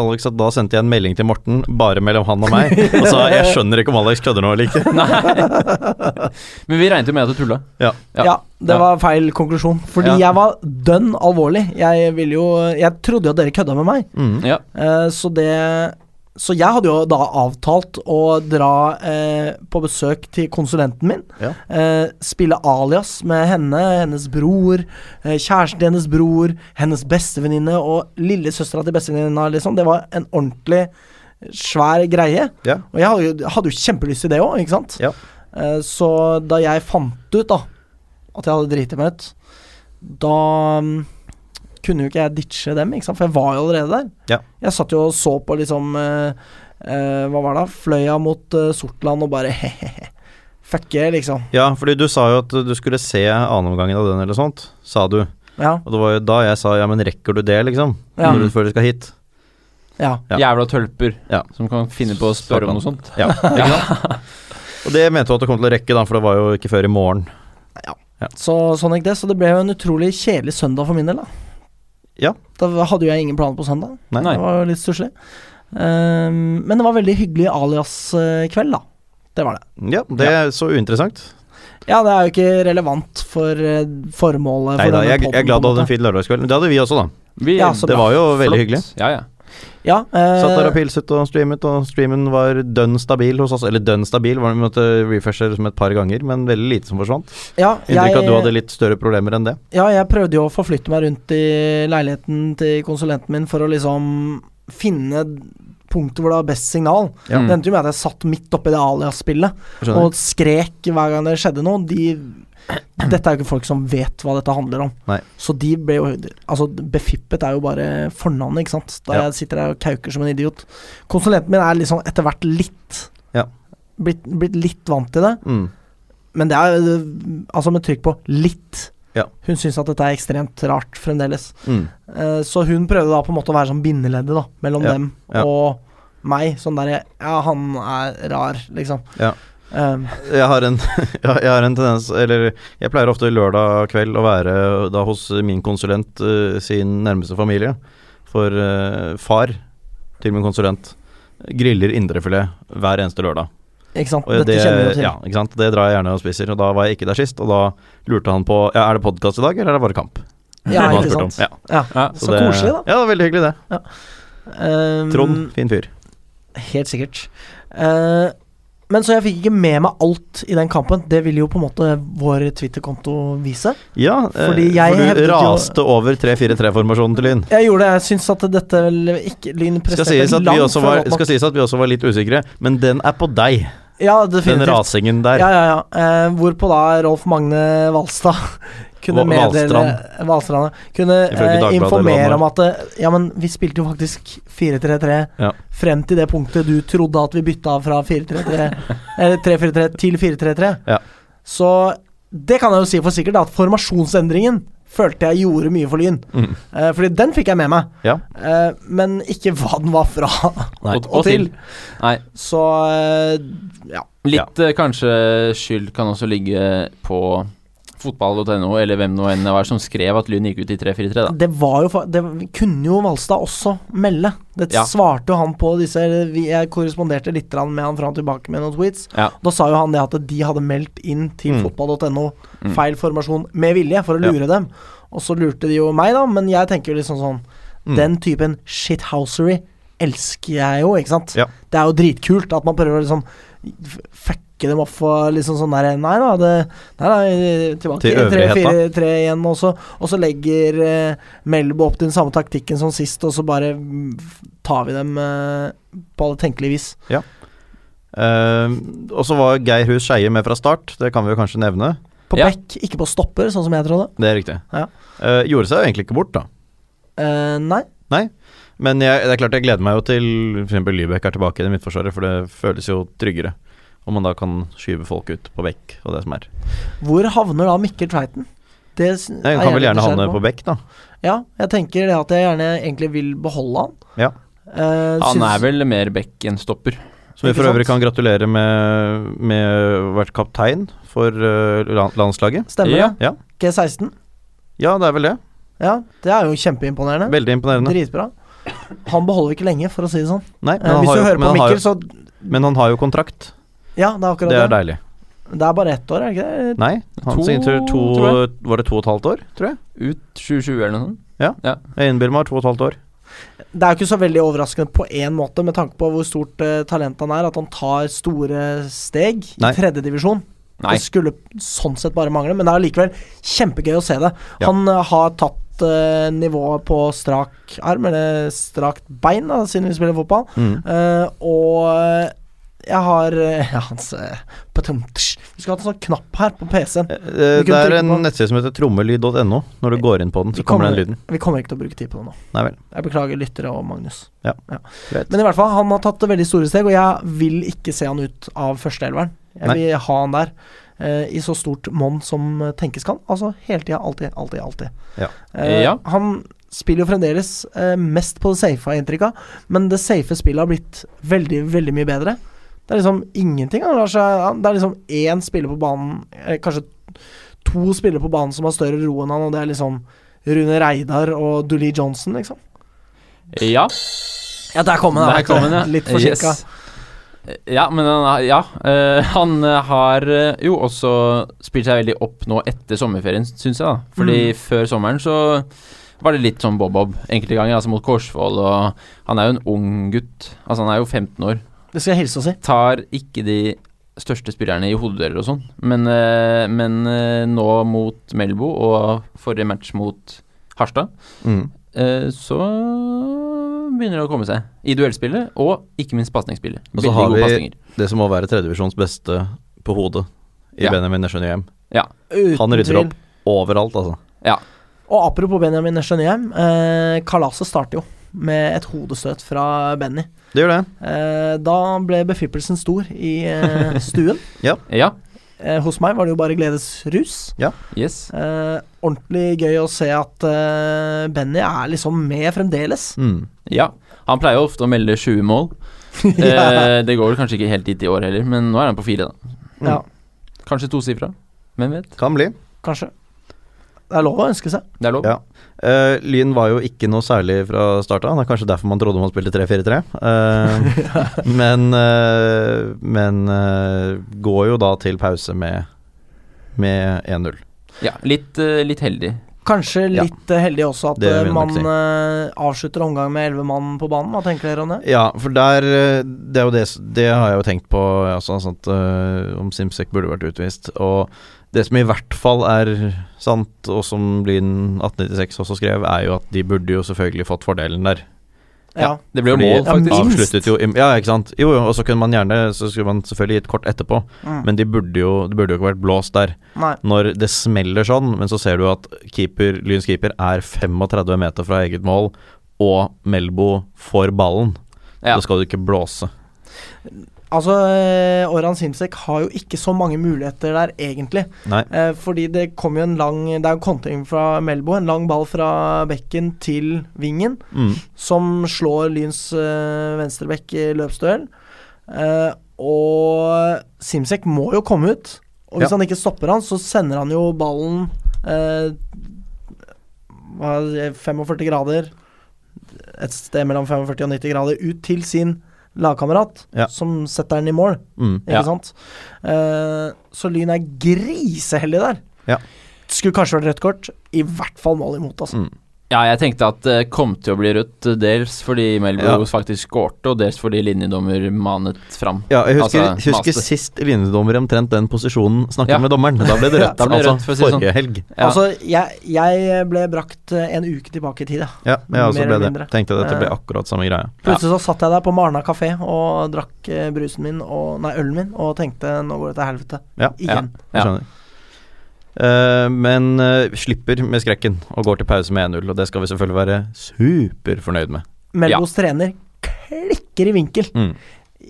Speaker 2: Alex, at da sendte jeg en melding til Morten bare mellom han og meg, og sa jeg skjønner ikke om Alex kødder nå eller ikke.
Speaker 3: Men vi regnet jo med at du tulla.
Speaker 1: Ja,
Speaker 3: Ja.
Speaker 1: det
Speaker 3: Ja.
Speaker 1: var feil konklusjon. Fordi
Speaker 3: Ja.
Speaker 1: jeg var dønn alvorlig. Jeg ville jo Jeg trodde jo at dere kødda med meg.
Speaker 2: Mm.
Speaker 3: Ja.
Speaker 1: Eh, så det så jeg hadde jo da avtalt å dra eh, på besøk til konsulenten min.
Speaker 2: Ja.
Speaker 1: Eh, spille alias med henne, hennes bror, eh, kjæresten til hennes bror, hennes bestevenninne og lillesøstera til bestevenninna, liksom. Det var en ordentlig svær greie.
Speaker 2: Ja.
Speaker 1: Og jeg hadde jo, hadde jo kjempelyst til det òg, ikke sant.
Speaker 2: Ja.
Speaker 1: Eh, så da jeg fant ut da at jeg hadde driti meg ut, da mm, kunne jo ikke jeg ditche dem, ikke sant? for jeg var jo allerede der.
Speaker 2: Ja.
Speaker 1: Jeg satt jo og så på liksom eh, eh, Hva var det? da? Fløya mot eh, Sortland og bare he-he-he. Fucke, liksom.
Speaker 2: Ja, fordi du sa jo at du skulle se annenomgangen av den eller sånt, sa du.
Speaker 1: Ja.
Speaker 2: Og det var jo da jeg sa ja, men rekker du det, liksom?
Speaker 1: Ja.
Speaker 2: Når du, før du skal hit?
Speaker 1: ja.
Speaker 2: Ja.
Speaker 3: Jævla tølper
Speaker 2: Ja.
Speaker 3: som kan finne på å spørre om noe sånt.
Speaker 2: Ja. Ikke sant? Og det mente du at du kom til å rekke, da, for det var jo ikke før i morgen.
Speaker 1: Så sånn gikk det. Så det ble jo en utrolig kjedelig søndag for min del, da.
Speaker 2: Ja.
Speaker 1: Da hadde jo jeg ingen planer på søndag.
Speaker 2: Nei.
Speaker 1: Det var jo litt stusslig. Ehm, men det var veldig hyggelig alias-kveld, da. Det var det.
Speaker 2: Ja, det er så uinteressant.
Speaker 1: Ja, det er jo ikke relevant for eh, formålet.
Speaker 2: Nei
Speaker 1: for
Speaker 2: da,
Speaker 1: denne
Speaker 2: jeg,
Speaker 1: podden,
Speaker 2: jeg er
Speaker 1: på
Speaker 2: glad du
Speaker 1: en
Speaker 2: hadde
Speaker 1: måte.
Speaker 2: en fin lørdagskveld. Men Det hadde vi også, da.
Speaker 3: Vi,
Speaker 1: Ja, så
Speaker 2: Det var jo veldig hyggelig.
Speaker 3: Ja, ja.
Speaker 1: Ja, eh,
Speaker 2: Satt der og pilset og streamet, og streamen var dønn stabil hos oss. Eller dønn stabil, var vi måtte refreshe som et par ganger, men veldig lite som forsvant.
Speaker 1: eh, ja,
Speaker 2: Inntrykk av at du hadde
Speaker 1: jeg, eh,
Speaker 2: litt større problemer enn det.
Speaker 1: ja, jeg prøvde jo å forflytte meg rundt i leiligheten til konsulenten min for å liksom finne punktet hvor det var best signal.
Speaker 2: Ja.
Speaker 1: Det endte jo med at jeg satt midt oppi det alias-spillet
Speaker 2: Skjønner.
Speaker 1: og skrek hver gang det skjedde noe. De Dette er jo ikke folk som vet hva dette handler om.
Speaker 2: Nei.
Speaker 1: Så de ble jo Altså, befippet er jo bare fornavnet, ikke sant. Da
Speaker 2: Ja.
Speaker 1: jeg sitter der og kauker som en idiot. Konsulenten min er liksom etter hvert litt
Speaker 2: Ja.
Speaker 1: blitt, blitt litt vant til det.
Speaker 2: Mm.
Speaker 1: Men det er øh, altså med trykk på litt.
Speaker 2: Ja.
Speaker 1: Hun syns at dette er ekstremt rart fremdeles.
Speaker 2: Mm.
Speaker 1: Eh, så hun prøvde da på en måte å være sånn bindeleddet da mellom
Speaker 2: Ja,
Speaker 1: dem
Speaker 2: ja.
Speaker 1: og meg. Sånn der Ja, han er rar, liksom.
Speaker 2: Ja.
Speaker 1: Um,
Speaker 2: Jeg har en jeg har en tendens Eller jeg pleier ofte lørdag kveld å være da hos min konsulent eh, sin nærmeste familie. For eh, far til min konsulent griller indrefilet hver eneste lørdag.
Speaker 1: ikke sant.
Speaker 2: Og
Speaker 1: Dette kjenner vi jo til.
Speaker 2: Ja, ikke sant? Det drar jeg gjerne og spiser. Og da var jeg ikke der sist, og da lurte han på ja, Er det podkast i dag, eller er det bare kamp?
Speaker 1: Ja,
Speaker 2: Som han
Speaker 1: ikke
Speaker 2: spurte om.
Speaker 1: sant.
Speaker 2: Ja,
Speaker 3: Ja.
Speaker 1: Så koselig, da.
Speaker 2: Ja, det var veldig hyggelig, det.
Speaker 1: Um,
Speaker 2: Trond, fin fyr.
Speaker 1: Helt sikkert. Eh, men så jeg fikk ikke med meg alt i den kampen. Det ville jo på en måte vår Twitter-konto vise.
Speaker 2: Ja, eh,
Speaker 1: Fordi jeg
Speaker 2: for
Speaker 1: hevdet
Speaker 2: du
Speaker 1: jo-
Speaker 2: raste over 3-4-3-formasjonen til Lyn.
Speaker 1: Jeg gjorde det. Jeg syns at dette vel ikke Lyn
Speaker 2: Skal
Speaker 1: presterte
Speaker 2: sies, at vi også
Speaker 1: fra
Speaker 2: var,
Speaker 1: godt nok.
Speaker 2: skal sies at vi også var litt usikre, men den er på deg,
Speaker 1: Ja,
Speaker 2: den
Speaker 1: definitivt.
Speaker 2: rasingen der.
Speaker 1: Ja, ja, ja. Eh, hvorhvorpå da Rolf Magne Valstad kunne
Speaker 2: Hva-
Speaker 1: meddele
Speaker 2: Valstrand.
Speaker 1: Valstrand. ja. Kunne
Speaker 2: Ifølge
Speaker 1: eh,
Speaker 2: Dagbladet eller
Speaker 1: informere
Speaker 2: hva
Speaker 1: om at eh, Ja, men vi spilte jo faktisk 4-3-3
Speaker 2: Ja.
Speaker 1: frem til det punktet du trodde at vi bytta fra 4-3-3 Eller 3-4-3 til 4-3-3.
Speaker 2: Ja.
Speaker 1: Så det kan jeg jo si for sikkert, da, at formasjonsendringen følte jeg gjorde mye for Lyn.
Speaker 2: Mm.
Speaker 1: Eh, fordi den fikk jeg med meg,
Speaker 2: Ja.
Speaker 1: eh, men ikke hva den var fra
Speaker 2: Nei.
Speaker 1: og, og til.
Speaker 3: Nei.
Speaker 1: Så eh, ja.
Speaker 3: Litt eh, kanskje skyld kan også ligge på fotball.no, eller hvem nå enn det var som skrev at Lyn gikk ut i 3-4-3, da.
Speaker 1: Det var jo fa- Det kunne jo Valstad også melde. Det
Speaker 3: Ja.
Speaker 1: svarte jo han på disse eller vi- Jeg korresponderte litt grann med han fram og tilbake med noen tweets.
Speaker 3: Ja.
Speaker 1: Da sa jo han det at de hadde meldt inn til
Speaker 2: Mm.
Speaker 1: fotball.no
Speaker 3: Mm.
Speaker 1: feil formasjon med vilje for å
Speaker 2: Ja.
Speaker 1: lure dem. Og så lurte de jo meg, da, men jeg tenker jo liksom sånn
Speaker 2: Mm.
Speaker 1: Den typen shithousery elsker jeg jo, ikke sant?
Speaker 2: Ja.
Speaker 1: Det er jo dritkult at man prøver å liksom f- fucke dem opp for liksom sånn der Nei da, det Nei da, tilbake
Speaker 2: Til øvrighet, da.
Speaker 1: 3-4-3 igjen, og så, og så legger eh, Melbo opp den samme taktikken som sist, og så bare mm, f- tar vi dem eh, på alle tenkelige vis.
Speaker 2: Eh, og så var Geir Hus Skeie med fra start, det kan vi jo kanskje nevne.
Speaker 1: På
Speaker 3: Ja.
Speaker 1: bekk, ikke på stopper, sånn som jeg trodde.
Speaker 2: Det er riktig.
Speaker 1: Ja.
Speaker 2: Eh, gjorde seg jo egentlig ikke bort, da.
Speaker 1: Eh, nei.
Speaker 2: Men jeg, det er klart jeg gleder meg jo til f.eks. Lybekk er tilbake i det midtforsvaret, for det føles jo tryggere. Om man da kan skyve folk ut på bekk og det som er.
Speaker 1: Hvor havner da Mikkel Tveiten? Det s-
Speaker 2: Nei,
Speaker 1: er
Speaker 2: Hun kan vel
Speaker 1: jeg
Speaker 2: gjerne
Speaker 1: nysgjerrig
Speaker 2: havne på bekk, da.
Speaker 1: Ja, jeg tenker det at jeg gjerne egentlig vil beholde han.
Speaker 2: Ja.
Speaker 1: Eh,
Speaker 3: Han
Speaker 1: syns-
Speaker 3: er vel mer bekk enn stopper.
Speaker 2: Som vi
Speaker 1: Ikke
Speaker 2: for øvrig
Speaker 1: sant?
Speaker 2: kan gratulere med, med å ha vært kaptein for eh, lan- landslaget.
Speaker 1: Stemmer
Speaker 3: Ja.
Speaker 1: det?
Speaker 2: Ja.
Speaker 1: G16.
Speaker 2: Ja, det er vel det.
Speaker 1: Ja, det er jo kjempeimponerende.
Speaker 2: Veldig imponerende.
Speaker 1: Dritbra. Han beholder vi ikke lenge, for å si det sånn.
Speaker 2: Nei, men,
Speaker 1: Eh,
Speaker 2: han
Speaker 1: hvis
Speaker 2: har
Speaker 1: du
Speaker 2: jo,
Speaker 1: hører
Speaker 2: men,
Speaker 1: på
Speaker 2: han har,
Speaker 1: Mikkel,
Speaker 2: jo-
Speaker 1: så
Speaker 2: men han har jo kontrakt.
Speaker 1: Ja, det er akkurat
Speaker 2: Det
Speaker 1: det.
Speaker 2: er deilig.
Speaker 1: Det er bare ett år, er det ikke det?
Speaker 2: Nei, han
Speaker 3: To,
Speaker 2: sin tur to,
Speaker 3: tror
Speaker 2: Var det to og et halvt år, tror jeg?
Speaker 3: Ut 2020 eller noe sånt.
Speaker 2: Jeg innbiller meg to og et halvt år.
Speaker 1: Det er jo ikke så veldig overraskende på én måte, med tanke på hvor stort eh, talent han er, at han tar store steg
Speaker 2: Nei.
Speaker 1: i tredjedivisjon.
Speaker 3: Nei.
Speaker 1: Det skulle sånn sett bare mangle, men det er allikevel kjempegøy å se det.
Speaker 2: Ja.
Speaker 1: Han eh, har tatt eh, nivået på strak arm, eller strakt bein, da, siden vi spiller fotball.
Speaker 2: Mm.
Speaker 1: Eh, og eh, jeg har eh, ja, hans eh, patumtsj. Vi skulle hatt en sånn knapp her på PC-en.
Speaker 2: Eh,
Speaker 1: Vi kunne
Speaker 2: Det er
Speaker 1: trykke
Speaker 2: en
Speaker 1: på-
Speaker 2: nettside som heter trommelyd.no. Når du går inn på den, så
Speaker 1: Vi
Speaker 2: kommer
Speaker 1: kommer-
Speaker 2: den lyden.
Speaker 1: Vi kommer ikke til å bruke tid på det nå.
Speaker 2: Nei vel.
Speaker 1: Jeg beklager lyttere og Magnus.
Speaker 2: Greit.
Speaker 1: Men i hvert fall, han har tatt veldig store steg, og jeg vil ikke se han ut av førsteelveren. Jeg
Speaker 2: Nei.
Speaker 1: vil ha han der eh, i så stort monn som eh, tenkes kan. Altså hele tida, alltid, alltid, alltid.
Speaker 2: Ja.
Speaker 1: Eh,
Speaker 3: Ja.
Speaker 1: Han spiller jo fremdeles eh, mest på det safe, har jeg inntrykk av, men det safe spillet har blitt veldig, veldig mye bedre. Det er liksom ingenting. Han lar seg, han- det er liksom én spiller på banen, eh, kanskje to spillere på banen som har større ro enn han, og det er liksom Rune Reidar og Dooley Johnson, liksom.
Speaker 3: Ja.
Speaker 1: Ja, der kom den.
Speaker 3: Der
Speaker 1: vet du.
Speaker 3: kom den, ja.
Speaker 1: Litt forsinka.
Speaker 3: Yes. Ja, men han har, ja, eh, han har eh, jo også spilt seg veldig opp nå etter sommerferien, syns jeg. da Fordi før sommeren så var det litt sånn bob-bob enkelte ganger, altså mot Korsvoll og Han er jo en ung gutt, altså han er jo 15 år.
Speaker 1: Det skal jeg hilse og si.
Speaker 3: Tar ikke de største spillerne i hodedører og sånn, men, eh, men eh, nå mot Melbo og forrige match mot Harstad
Speaker 2: Mm.
Speaker 3: Eh, så begynner det å komme seg. I duellspillet, og ikke minst pasningsspillet.
Speaker 2: Og så
Speaker 3: Veldig
Speaker 2: har
Speaker 3: gode
Speaker 2: vi-
Speaker 3: pasninger.
Speaker 2: Det som må være tredjevisjons beste på hodet i
Speaker 3: Ja.
Speaker 2: Benjamin Nesjønyheim.
Speaker 1: Uten
Speaker 2: Han rydder
Speaker 1: tvil.
Speaker 2: opp overalt, altså.
Speaker 1: Og apropos Benjamin Nesjønyheim. Eh, kalaset starter jo med et hodestøt fra Benny.
Speaker 2: Det gjør det.
Speaker 1: Eh, da ble befippelsen stor i eh, stuen.
Speaker 3: Ja.
Speaker 1: Eh, hos meg var det jo bare gledesrus.
Speaker 3: Yes.
Speaker 1: Eh, ordentlig gøy å se at eh, Benny er liksom med fremdeles.
Speaker 2: Mm.
Speaker 3: Ja. Han pleier jo ofte å melde 20 mål.
Speaker 1: ja.
Speaker 3: Eh, det går vel kanskje ikke helt dit i år heller, men nå er han på fire, da.
Speaker 2: Mm.
Speaker 1: ja,
Speaker 3: Kanskje tosifra. Hvem vet?
Speaker 2: Kan bli.
Speaker 1: kanskje. Det er lov å ønske seg.
Speaker 3: Det er lov.
Speaker 2: Ja. Eh, Lyn var jo ikke noe særlig fra starta. Det er kanskje derfor man trodde man spilte 3-4-3. Eh, men eh, men eh, går jo da til pause med, med 1-0.
Speaker 3: Ja, litt, eh, litt heldig.
Speaker 1: Kanskje
Speaker 2: Ja.
Speaker 1: litt eh, heldig også at
Speaker 2: Det vil
Speaker 1: eh,
Speaker 2: jeg nok
Speaker 1: man
Speaker 2: si.
Speaker 1: eh, avslutter omgang med elleve mann på banen. Hva tenker dere om det?
Speaker 2: Ja, for der eh, Det er jo det s- Det har jeg jo tenkt på ja, sånn at, eh, om Simsek burde vært utvist. Og det som i hvert fall er sant, og som Lyn 1896 også skrev, er jo at de burde jo selvfølgelig fått fordelen der.
Speaker 1: Ja.
Speaker 3: Det ble jo
Speaker 2: Fordi-
Speaker 3: mål, faktisk.
Speaker 1: Ja, minst.
Speaker 2: Avsluttet jo i- Ja, ikke sant. Jo, jo, og så kunne man gjerne Så skulle man selvfølgelig gitt kort etterpå,
Speaker 1: Mm.
Speaker 2: men de burde jo, det burde jo ikke vært blåst der.
Speaker 1: Nei.
Speaker 2: Når det smeller sånn, men så ser du at keeper, Lyns keeper er 35 meter fra eget mål, og Melbo får ballen.
Speaker 3: Ja.
Speaker 2: Da skal du ikke blåse.
Speaker 1: Altså, eh, Orhan Simsek har jo ikke så mange muligheter der, egentlig.
Speaker 2: Nei.
Speaker 1: Eh, fordi det kom jo en lang Det er jo kontring fra Melbo. En lang ball fra bekken til vingen,
Speaker 2: Mm.
Speaker 1: som slår Lyns eh, venstrebekk i løpsduell. Eh, og Simsek må jo komme ut. Og hvis
Speaker 2: Ja.
Speaker 1: han ikke stopper han, så sender han jo ballen eh, hva er det, 45 grader Et sted mellom 45 og 90 grader ut til sin lagkamerat,
Speaker 2: Ja.
Speaker 1: som setter den i mål.
Speaker 2: Mm.
Speaker 1: Ikke
Speaker 3: Ja.
Speaker 1: sant? Eh, så Lyn er griseheldig der.
Speaker 2: Ja.
Speaker 1: Skulle kanskje vært rødt kort. I hvert fall mål imot, altså.
Speaker 2: Mm.
Speaker 3: Ja, jeg tenkte at det kom til å bli rødt, eh, dels fordi Melbu
Speaker 2: Ja.
Speaker 3: faktisk skårte, og dels fordi linjedommer manet fram.
Speaker 2: Ja, jeg husker,
Speaker 3: Altså,
Speaker 2: husker
Speaker 3: master.
Speaker 2: sist linjedommer i omtrent den posisjonen snakket
Speaker 3: Ja.
Speaker 2: med dommeren. Da ble det rødt,
Speaker 3: Da ble det
Speaker 2: altså
Speaker 3: rødt, for å si det sånn.
Speaker 2: forrige helg.
Speaker 3: Ja.
Speaker 1: Altså, jeg, jeg ble brakt eh, en uke tilbake i tid, jeg.
Speaker 2: Ja, jeg også
Speaker 1: Mer
Speaker 2: ble
Speaker 1: eller
Speaker 2: det.
Speaker 1: mindre.
Speaker 2: Tenkte dette ble
Speaker 1: Ja.
Speaker 2: akkurat samme greia.
Speaker 1: Plutselig så satt jeg der på Marna kafé og drakk eh, brusen min, og, nei, ølen min, og tenkte nå går det til helvete.
Speaker 2: Ja.
Speaker 1: Igjen.
Speaker 2: Jeg
Speaker 3: Ja.
Speaker 2: skjønner. Eh, men eh, slipper med skrekken og går til pause med 1-0, og det skal vi selvfølgelig være superfornøyd med.
Speaker 1: Melbos trener klikker i vinkel.
Speaker 2: Mm.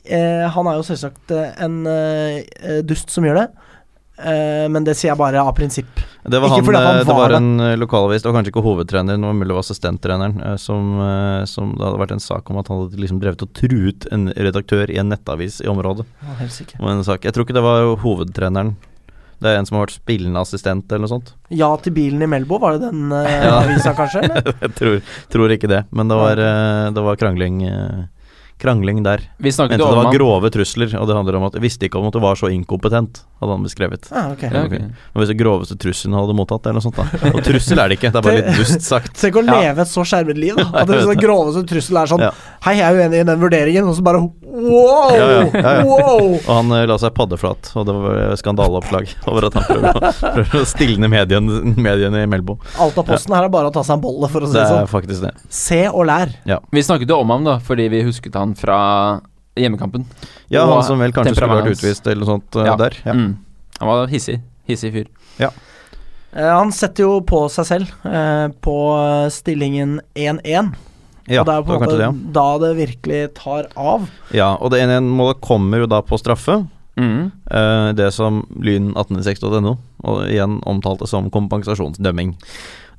Speaker 1: Eh, han er jo selvsagt eh, en eh, eh, dust som gjør det, eh, men det sier jeg bare av prinsipp.
Speaker 2: Det var,
Speaker 1: Ikke
Speaker 2: han,
Speaker 1: fordi at han
Speaker 2: eh, det
Speaker 1: var
Speaker 2: var
Speaker 1: det.
Speaker 2: en eh, lokalavis, det var kanskje ikke hovedtreneren, det var mulig det var assistenttreneren, eh, som, eh, som det hadde vært en sak om at han hadde liksom drevet og truet en redaktør i en nettavis i området.
Speaker 1: Å, helsike.
Speaker 2: om en sak. Jeg tror ikke det var hovedtreneren. Det er en som har vært spillende assistent eller noe sånt.
Speaker 1: Ja til bilen i Melbo, var det den eh,
Speaker 2: Ja.
Speaker 1: avisa, kanskje? Eller?
Speaker 2: Jeg tror, tror ikke det, men det var, eh, det var krangling, eh, krangling der.
Speaker 3: Vi
Speaker 2: Mente
Speaker 3: snakket jo
Speaker 2: det var
Speaker 3: om han.
Speaker 2: grove trusler, og det handler om at visste ikke om at du var så inkompetent, hadde han beskrevet.
Speaker 1: Ah, ok.
Speaker 3: Ja, ok.
Speaker 2: Men hvis det groveste trusselen han hadde mottatt, eller noe sånt, da. Og trussel er det ikke, det er bare litt dust sagt.
Speaker 1: Tenk å
Speaker 3: Ja.
Speaker 1: leve et så skjermet liv. Da. At
Speaker 2: Nei,
Speaker 1: det
Speaker 2: jeg vet
Speaker 1: sånn groveste trussel er sånn
Speaker 2: Ja.
Speaker 1: Hei, jeg er uenig i den vurderingen, og så bare wow!
Speaker 2: Ja, ja, ja, ja.
Speaker 1: wow!
Speaker 2: Og han eh, la seg paddeflat, og det var skandaleoppslag over at han prøver å, prøver å stilne mediene, mediene i Melbo.
Speaker 1: Alt av posten her er bare å ta seg en bolle, for å si det
Speaker 2: Det
Speaker 1: sånn.
Speaker 2: er faktisk det.
Speaker 1: Se og lær.
Speaker 3: Vi snakket jo om ham da, fordi vi husket han fra hjemmekampen.
Speaker 2: Ja,
Speaker 3: Og
Speaker 2: han som vel kanskje skulle
Speaker 3: temperamentet
Speaker 2: vært
Speaker 3: hans.
Speaker 2: utvist eller noe sånt eh,
Speaker 3: Ja.
Speaker 2: der. Ja.
Speaker 3: Mm. Han var hissig. Hissig fyr.
Speaker 1: Eh, han setter jo på seg selv eh, på eh, stillingen 1-1.
Speaker 2: Ja,
Speaker 1: og det er jo på en måte
Speaker 2: kanskje det. ja.
Speaker 1: da det virkelig tar av.
Speaker 2: Ja, og det ene målet kommer jo da på straffe.
Speaker 3: Mm.
Speaker 2: eh, det som lyn1860.no og igjen omtalte som kompensasjonsdømming.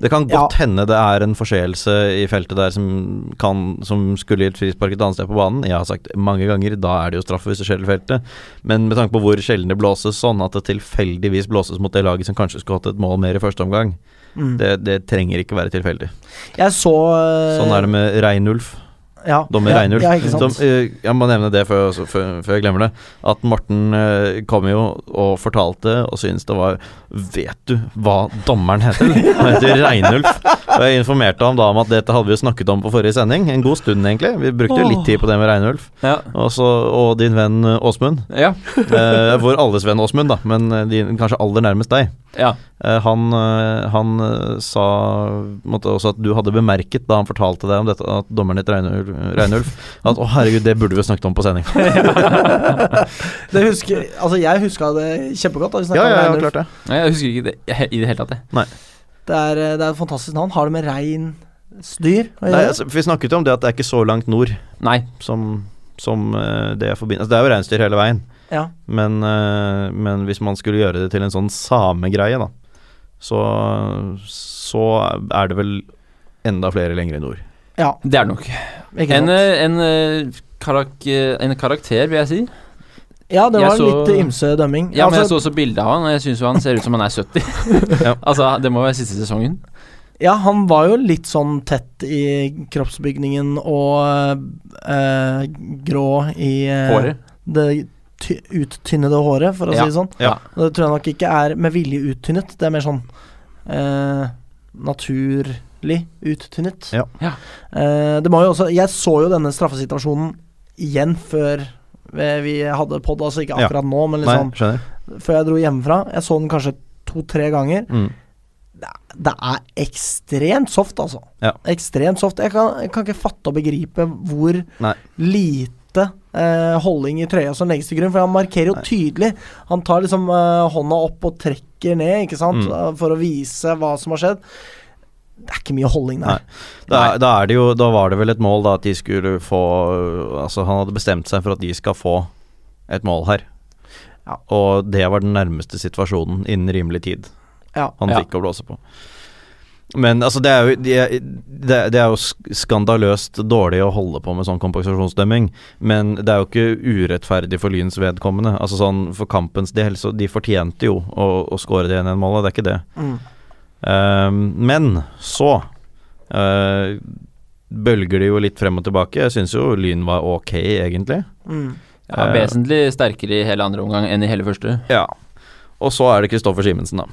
Speaker 2: Det kan godt hende det er en forseelse i feltet der som, kan, som skulle gitt frispark et annet sted på banen. Jeg har sagt mange ganger, da er det jo straffe hvis det skjer i feltet. Men med tanke på hvor sjelden det blåses sånn at det tilfeldigvis blåses mot det laget som kanskje skulle hatt et mål mer i første omgang,
Speaker 1: Mm.
Speaker 2: det, det trenger ikke være tilfeldig.
Speaker 1: Jeg så eh,
Speaker 2: Sånn er det med Reinulf.
Speaker 1: ja,
Speaker 2: Dommer
Speaker 1: ja,
Speaker 2: Reinulf.
Speaker 1: Ja, ikke sant?
Speaker 2: Som, eh, jeg må nevne det før, også, før, før jeg glemmer det. At Morten eh, kom jo og fortalte og syntes det var Vet du hva dommeren heter? Han heter Reinulf. Og jeg informerte ham da om at dette hadde vi jo snakket om på forrige sending. En god stund, egentlig. Vi brukte jo litt tid på det med Reinulf.
Speaker 3: Ja.
Speaker 2: Og, så, og din venn eh, Åsmund.
Speaker 3: Ja.
Speaker 2: Eh, vår alles venn Åsmund, da, men eh, din, kanskje aller nærmest deg.
Speaker 3: ja.
Speaker 2: Eh, Han, eh, han eh, sa måtte også at du hadde bemerket da han fortalte deg om dette, at dommeren het Reinulf, Reinulf at å herregud, det burde vi ha snakket om på sending.
Speaker 1: Det husker, altså, jeg huska det kjempegodt. Da vi snakket om Reinulf.
Speaker 2: det.
Speaker 3: Nei, Jeg husker ikke det he- i det hele tatt, jeg.
Speaker 1: Det er, eh, det er et fantastisk navn. Har det med reinsdyr å
Speaker 2: Nei,
Speaker 1: gjøre?
Speaker 2: altså, for vi snakket jo om det at det er ikke så langt nord
Speaker 3: Nei.
Speaker 2: som, som eh, det jeg forbinder altså, Det er jo reinsdyr hele veien,
Speaker 1: ja.
Speaker 2: men, eh, men hvis man skulle gjøre det til en sånn samegreie, da, så, så er det vel enda flere lenger i nord.
Speaker 1: ja,
Speaker 3: Det er det nok.
Speaker 1: ikke
Speaker 3: En,
Speaker 1: sant.
Speaker 3: eh, en, eh, karak eh, en karakter, vil jeg si.
Speaker 1: Ja, det
Speaker 3: jeg
Speaker 1: var
Speaker 3: så-
Speaker 1: litt ymse dømming.
Speaker 3: Ja, men jeg
Speaker 1: Altså,
Speaker 3: så også bilde av han, og jeg syns jo han ser ut som han er 70.
Speaker 2: Ja.
Speaker 3: Altså, det må være siste sesongen.
Speaker 1: Ja, han var jo litt sånn tett i kroppsbygningen og eh, grå i eh,
Speaker 3: Håret.
Speaker 1: Det ty uttynnede håret, for å
Speaker 3: Ja,
Speaker 1: si det sånn.
Speaker 2: ja.
Speaker 1: Og Det tror jeg nok ikke er med vilje uttynnet, det er mer sånn eh, naturlig uttynnet.
Speaker 2: Ja.
Speaker 3: Ja.
Speaker 1: Eh, det må jo også Jeg så jo denne straffesituasjonen igjen før vi vi hadde pod, altså ikke
Speaker 2: Ja.
Speaker 1: akkurat nå, men
Speaker 2: Nei,
Speaker 1: liksom
Speaker 2: skjønner.
Speaker 1: før jeg dro hjemmefra. Jeg så den kanskje to-tre ganger
Speaker 2: Mm.
Speaker 1: det er ekstremt soft, altså.
Speaker 2: Ja.
Speaker 1: Ekstremt soft. Jeg kan, jeg kan ikke fatte og begripe hvor
Speaker 2: Nei.
Speaker 1: lite eh, holding i trøya som legges til grunn, for han markerer jo tydelig. Han tar liksom eh, hånda opp og trekker ned, ikke sant,
Speaker 2: Mm.
Speaker 1: Eh, for å vise hva som har skjedd. Det er ikke mye holdning der.
Speaker 2: Da, da, er det jo, da var det vel et mål da at de skulle få øh, Altså han hadde bestemt seg for at de skal få et mål her.
Speaker 1: Ja.
Speaker 2: Og det var den nærmeste situasjonen innen rimelig tid
Speaker 1: Ja.
Speaker 2: han
Speaker 3: Ja.
Speaker 2: fikk å blåse på. Men altså, det er jo, det er- det er- det er jo sk- skandaløst dårlig å holde på med sånn kompensasjonsdømming. Men det er jo ikke urettferdig for Lyns vedkommende. Altså sånn for kampens del, så de fortjente jo å, å skåre det 1-1-målet, det er ikke det.
Speaker 1: Mm.
Speaker 2: Ehm, men så eh, bølger det jo litt frem og tilbake. Jeg syns jo Lyn var ok, egentlig.
Speaker 1: Mm.
Speaker 3: Ja,
Speaker 2: Eh,
Speaker 3: vesentlig sterkere i hele andre omgang enn i hele første.
Speaker 2: Ja. Og så er det Kristoffer Simensen, da.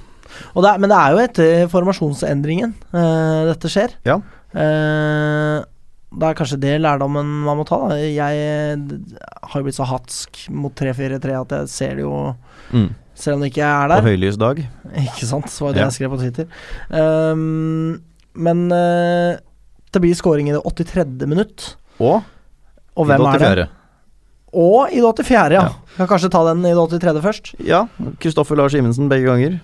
Speaker 1: Og det er, men det er jo etter formasjonsendringen eh, dette skjer.
Speaker 2: Ja.
Speaker 1: Eh, det er kanskje det lærdommen man må ta. Da. Jeg eh, har jo blitt så hatsk mot 3-4-3 at jeg ser det jo
Speaker 2: Mm.
Speaker 1: Selv om det ikke er
Speaker 2: På
Speaker 1: der.
Speaker 2: høylys dag.
Speaker 1: Ikke sant? Så var det
Speaker 2: Ja.
Speaker 1: jeg skrev på Twitter. Ehm, men eh, det blir scoring i det 83. minutt.
Speaker 2: Og
Speaker 1: Og hvem er det? Og i det 84., ja.
Speaker 2: Ja.
Speaker 1: Kan kanskje ta den i det 83. først.
Speaker 2: Ja. Kristoffer Lars Simensen begge ganger.